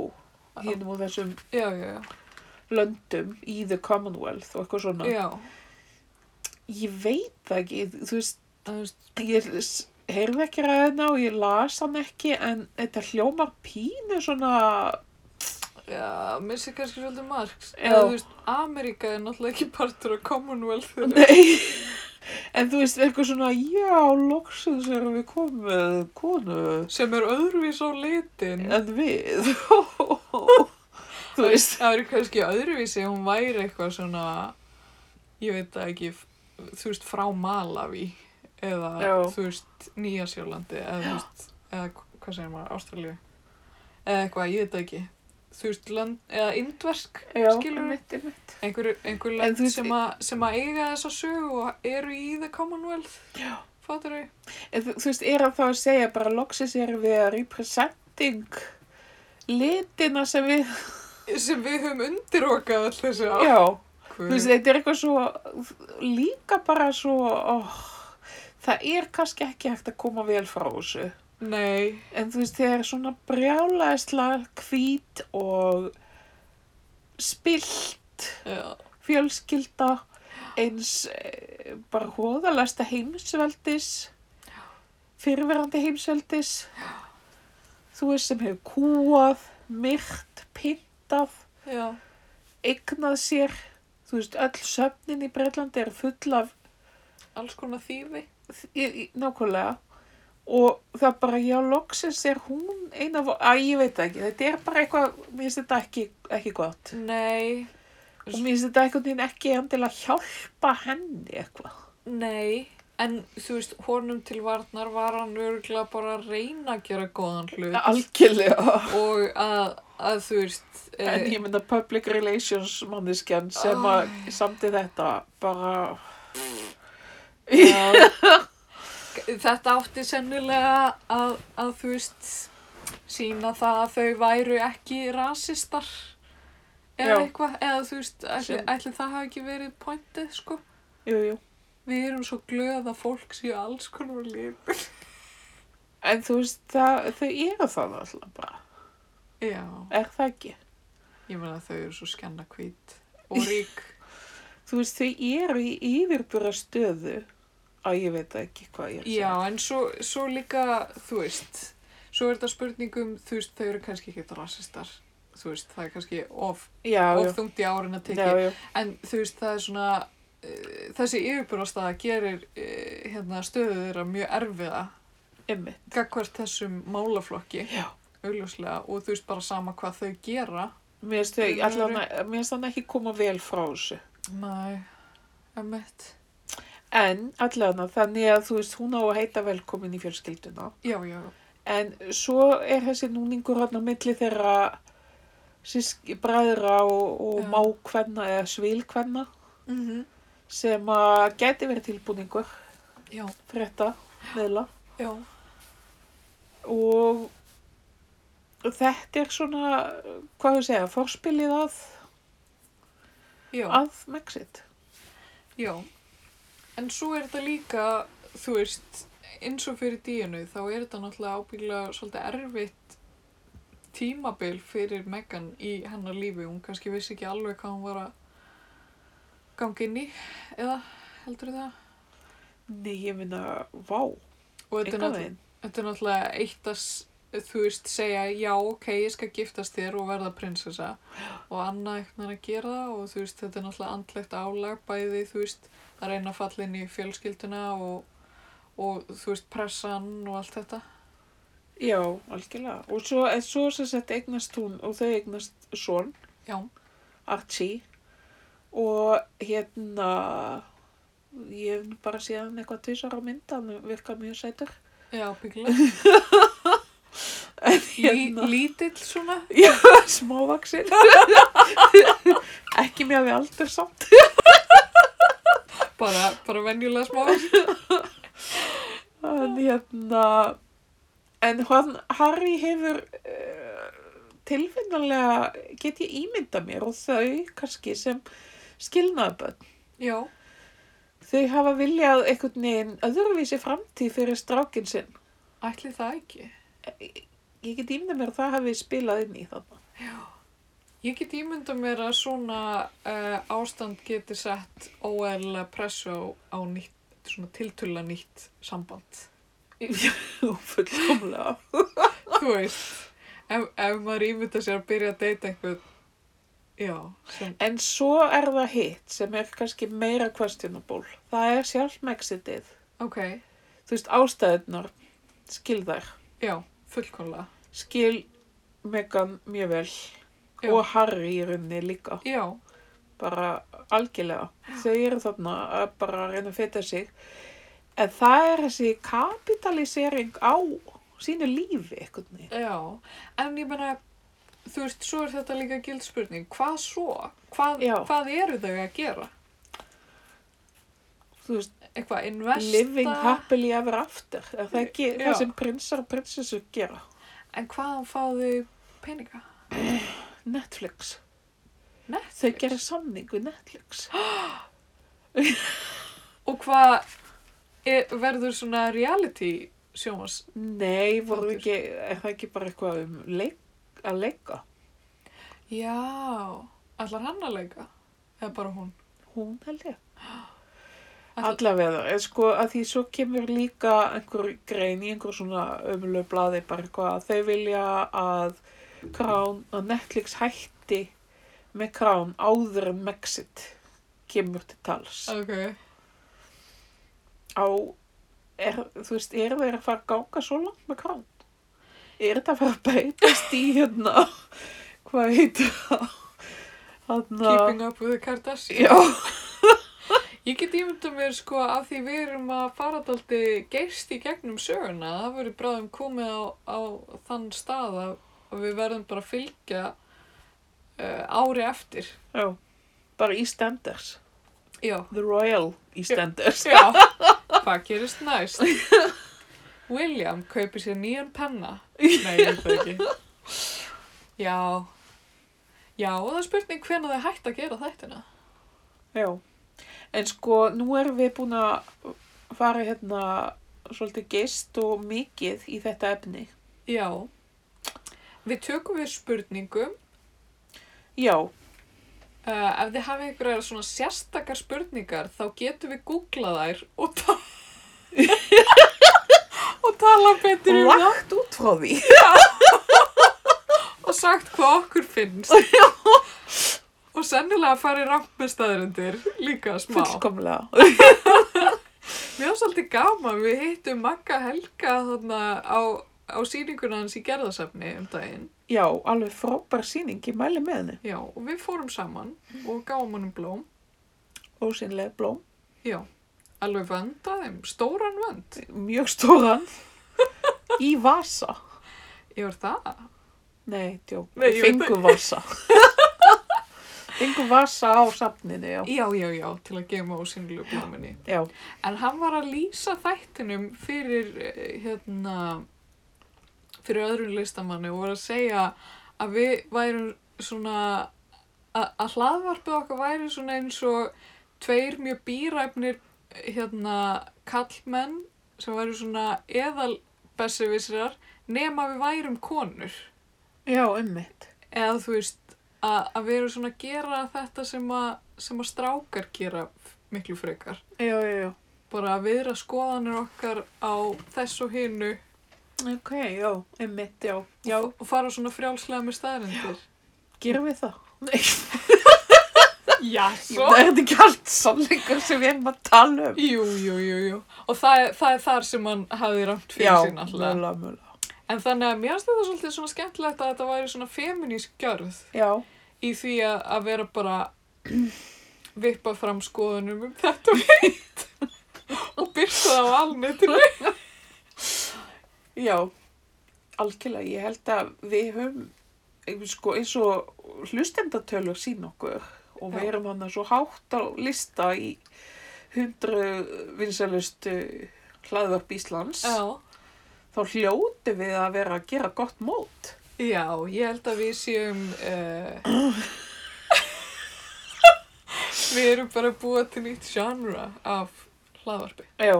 hinnum og þessum já, já, já, löndum í the commonwealth og eitthvað svona. já. Ég veit það ekki, þú veist, Það, þú veist, ég s- heyrði ekki ræðina og ég las hann ekki en þetta hljómar pínu svona, já, missi kannski svolítið margs Já. eða þú veist, Amerika er náttúrulega ekki partur af Commonwealthinu nei, (laughs) en þú veist, eitthvað svona, já, loksins erum við komið konu sem er öðruvís á litin en við, (laughs) þú veist, það eru kannski öðruvísi hún væri eitthvað svona ég veit það ekki f- þú veist frá Malawi eða Já. þú veist Nýjasjólandi eða þú veist eða hv- hvað segir maður Ástralíu eða eitthvað ég veit það ekki þú veist land eða indversk skilur við mitt, mitt. einhver, einhver En land þú veist- sem, a, sem að eiga þessa sögu og eru í the commonwealth Já. fattur þau En þú, þú veist, er hann þá að segja bara loksins erum við að representing litina sem við, sem við höfum undirokað alltaf þessu já. Guð. Þú veist, þetta er eitthvað svo, líka bara svo, oh, það er kannski ekki hægt að koma vel frá þessu. nei En þú veist, þegar svona brjálæðisla, hvít og spilt já, fjölskylda eins eh, bara hóðalasta heimsveldis, fyrirverandi heimsveldis, þú veist, sem hefur kúað, myrt, pintað, já, eignað sér þú veist, öll söfnin í Breitlandi er full af alls konar þýfi í, í, nákvæmlega og það bara, já, loksins er hún eina, að ég veit það ekki, þetta er bara eitthvað, mér finnst þetta ekki, ekki gott nei og mér finnst þetta eitthvað þín ekki endilega hjálpa henni eitthvað Nei, en þú veist, honum til varnar var hann örgulega bara að reyna að gera góðan hlut algjörlega og að, að þú veist, (laughs) eh, en ég mynda public relations manneskjan sem að samti þetta bara að, þetta átti sennilega að, að þú veist, sína það að þau væru ekki rasistar eða Já. eitthvað, eða þú veist, ætli, Sem- ætli það hafi ekki verið pointið, sko. jú, jú. Við erum svo glöð að fólk séu alls konar líf. en þú veist, það, þau eru það alltaf bara, Já, er það ekki ég meina að þau eru svo skenna hvít og (laughs) rík. þú veist, þau eru í yfirbúra stöðu að ég veit ekki hvað ég er að segja. Já, en svo, svo líka, þú veist, svo er þetta spurningum, þú veist, þau eru kannski ekki rasistar, þú veist, það er kannski of, Já, of já, þungt í árin að já, teki, já, en þú veist, það er svona, uh, þessi yfirbúrastaða gerir uh, hérna, stöðu þeirra mjög erfiða ymmið, gagvart þessum málaflokki, já. augljóslega, og þú veist bara sama hvað þau gera. Mér finnst þau, Þau allan, að- mér finnst þannig ekki koma vel frá þessu. Næ, emmett. En allan að þannig að þú veist, hún á að heita velkomin í fjölskylduna. Já, já, En svo er þessi núningur hann á milli þeirra síski, bræðra og, og Já. mákvenna eða svilkvenna mm sem að geti verið tilbúningur, já, frétta, meðla. já, og þetta er svona, hvað við segja, forspilið að, já, að Mexit. já. En svo er þetta líka, þú veist, eins og fyrir díunu, þá er þetta náttúrulega ábyggilega svolítið erfitt tímabil fyrir Megan í hennar lífi. Hún kannski vissi ekki alveg hvað hún var að ganga inn í, eða heldur það? Nei, ég minna, vá, Og þetta er einhvern náttúrulega... veginn. Þetta er náttúrulega eitt að, s- þú veist, segja já, ok, ég skal giftast þér og verða prinsessa og annað eitthvað að gera það og þú veist, þetta er náttúrulega andlegt álag bæði, þú veist, að reyna að falla inn í fjölskylduna og, og þú veist, pressan og allt þetta. Já, algjörlega. Og svo, en svo sem sett eignast hún og þau eignast son, Já, Archie, og hérna, ég hef nú bara síðan eitthvað tvisar á mynda, hann virkar mjög sætur. já, (laughs) bygglega. Lí, Hérna. (laughs) lítill svona. Já, smávaksin. Ekki mjög við aldur samt. Bara, bara venjulega smá. En hérna, en hann, Harry hefur uh, tilfinnilega, get ég ímyndað mér og þau kannski sem skilnaðabönd. Já, Þau hafa viljað einhvern veginn öðruvísi framtíð fyrir strákinn sinn. ætli það ekki. Ég get ímynda mér að það hafi spilað inn í þarna. Ég get ímynda mér að svona uh, ástand geti sett óæðilega pressu á, á nýtt, svona tiltöla nýtt samband. (laughs) Já, fullkomlega. Þú veist, ef, ef maður ímynda sér að byrja að deyta einhvern, já, sem, En svo er það hitt sem er kannski meira questionable. Það er sjálfmexitið. ok, Þú veist, ástæðunar, skil þær, já, fullkomlega. skil Megan mjög vel Já. og Harry í rauninni líka. Já, Bara algjörlega. Þau eru þarna að bara reyna að feta sig. En það er þessi kapitalisering á sínu lífi einhvern veginn. já, en ég meina, þú veist, svo er þetta líka gild spurning, hvað svo? Hvað, Já. hvað eru þau að gera? þú veist, Eitthvað, investa? living happily ever after. Er það ekki Já. það sem prinsar og prinsessur gera? En hvaðan fá þau peninga? Netflix. Netflix? Þau gera samning við Netflix. Og hvað er- verður svona reality sjómas? Nei, voru Þáttur. ekki, er það ekki bara eitthvað um leik, að leika? Já, allar hann að leika? Eða bara hún? Hún held ég. Ætli- Allavega, en sko að því svo kemur líka einhver grein í einhver svona ömulegu blaði bara eitthvað að þau vilja að krán, að Netflix hætti með krán áður en Mexit kemur til tals. Ok. á, er, þú veist, eru þeir að fara að ganga svo langt með krán? Er þetta að fara að breytast í hérna, (laughs) hvað heitir það? Hanna, Keeping up with the Kardashians. já, Ég get ímynda mér sko af því við erum að fara daldi geist í gegnum söguna. Það verður bráðum komið á, á þann stað að að við verðum bara að fylgja uh, ári eftir. já, bara EastEnders, Já. The Royal EastEnders. Já. (laughs) Hvað gerist næst? William kaupir sér nýjan penna. Nei, ég veit það ekki. Já. Já, og það er spurning hvenær þau hægt að gera þættina. Já, en sko, nú erum við búin að fara hérna svolítið gist og mikið í þetta efni. Já. Við tökum við spurningum. Já, Uh, ef þið hafið einhverjar svona sérstakar spurningar, þá getum við googlað þær og, ta (laughs) og tala betur um það lagt út frá því. og sagt hvað okkur finnst. og sennilega farið rámt með staðrendir líka smá. Fullkomlega. Mér var svolítið gaman, við hittum Magga Helga þarna á, á sýninguna hans í gerðasafni um daginn. Já, alveg frábær sýning, ég mæli með henni. Já, og við fórum saman og gáum honum blóm. Ósynlega blóm. Já, alveg vönd að þeim, stóran vönd. mjög (laughs) stóran í vasa. Ég var það. Nei, djó, Nei, ég veit fengu (laughs) vasa. fengu vasa á safninu, já. Já, já, já, til að gema ósynlegu blóminni. Já, En hann var að lýsa þættinum fyrir, eh, hérna, fyrir öðrum listamanni og voru að segja að við værum svona að að hlaðvarpið okkar væri svona eins og tveir mjög býræfnir hérna kallmenn sem væri svona eðal bessevisrar nema við værum konur Já, ummitt. eða þú veist að, að við erum svona að gera þetta sem að, sem að strákar gera f- miklu frekar Já, já, já. bara að viðra skoðanir okkar á þess og hinu Ok, já, ummitt, já. Já, og fara svona frjálslega með staðarindir gerum við það? Nei, Já, (laughs) það er þetta ekki allt sannleikur sem við erum að tala um. Jú, jú, jú, jú. Og það er, það er þar sem hann hafði rámt fyrir sín alltaf. mögulega, mögulega. En þannig að mér finnst þetta svolítið svona skemmtilegt að þetta væri svona feminísk gjörð Já. í því að, að vera bara (clears throat) vippa fram skoðunum um þetta (laughs) og hitt og byrta það á alnetinu. Já, algjörlega. Ég held að við höfum eh, sko, eins og hlustendatölur sín okkur og við Já. erum hann svo hátt á lista í 100 vinsalustu hlaðvarp Íslands. Já. Þá hljóti við að vera að gera gott mót. Já, ég held að við séum... Uh, við erum bara að búa til nýtt genre af hlaðvarpi. Já,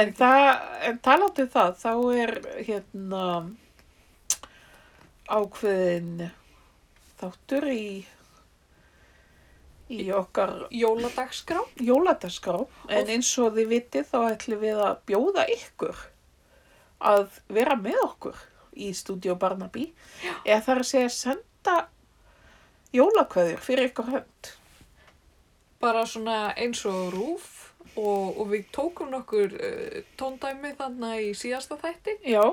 en, það, en talandi um það, þá er hérna ákveðin þáttur í, í okkar Jóladagskrá? jóladagskrá en eins og þið vitið þá ætlum við að bjóða ykkur að vera með okkur í stúdíu Barnaby eða þar að segja senda jólakveður fyrir ykkur hönd bara svona eins og rúf og, og við tókum nokkur uh, tóndæmi þarna í síðasta þætti Já,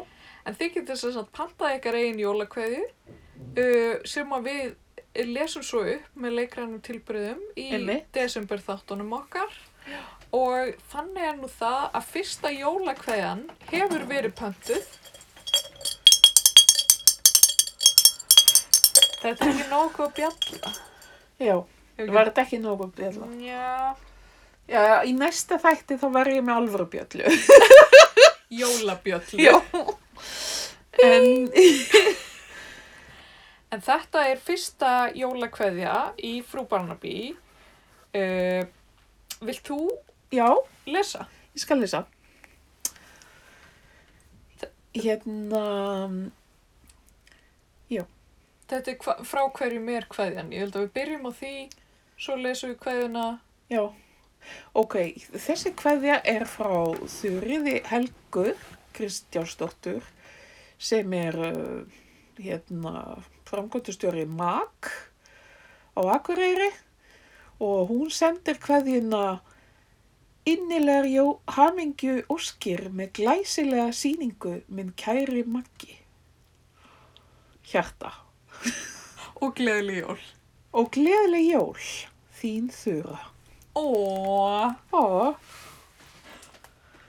en þið getur þess að panta ykkar eigin jólakveðju uh, sem að við lesum svo upp með leikrænum tilbyrðum í Einmitt. desember þáttunum okkar og þannig er nú það að fyrsta jólakveðan hefur verið pöntuð Þetta er ekki nógu að bjalla. já, Ef ég- var þetta ekki nógu að bjölla? Já, Já, í næsta þætti þá var ég með alvöru bjöllu jólabjalla. Já En, En þetta er fyrsta jólakveðja í Frú Barnaby. Uh, vilt þú já, lesa? ég skal lesa Hérna, Þetta er hva, frá hverjum er kveðjan. Ég held að við byrjum á því, svo lesum við kveðjuna. Já, ok, þessi kveðja er frá Þurriði Helgu Kristjánsdóttur sem er uh, hérna, framkvæmtustjóri MAK á Akureyri og hún sendir kveðjuna innilegar jó hamingju óskir með glæsilega sýningu minn kæri Maggi. Hjarta Og gleðileg jól. og gleðileg jól, þín Þura. Ó, Ó,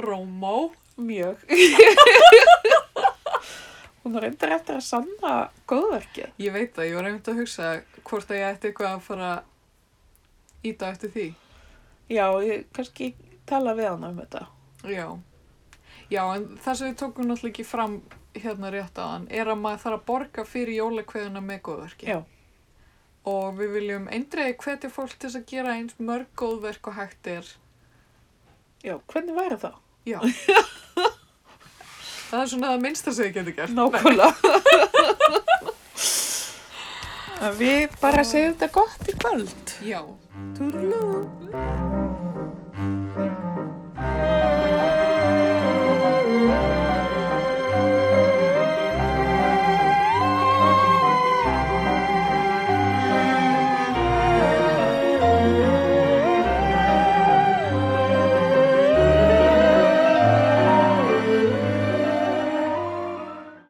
Rómó. (laughs) Mjög. Hún reyndar eftir að sanna góðverkið. Ég veit það, ég var einmitt að hugsa hvort að ég ætti eitthvað að fara íta eftir því. Já, ég kannski tala við hann um þetta. Já. Já, en það sem við tókum náttúrulega ekki fram hérna rétt á hann er að maður þarf að borga fyrir jólakveðuna með góðverki. Já. og við viljum eindreiði hvetja fólk til þess að gera eins mörg góðverk og hægt er. Já, hvernig væri það? Já. það er svona það minnsta sem þið getur gert. Nákvæmlega. (laughs) En við bara segjum þetta gott í kvöld. Já. Túrlú.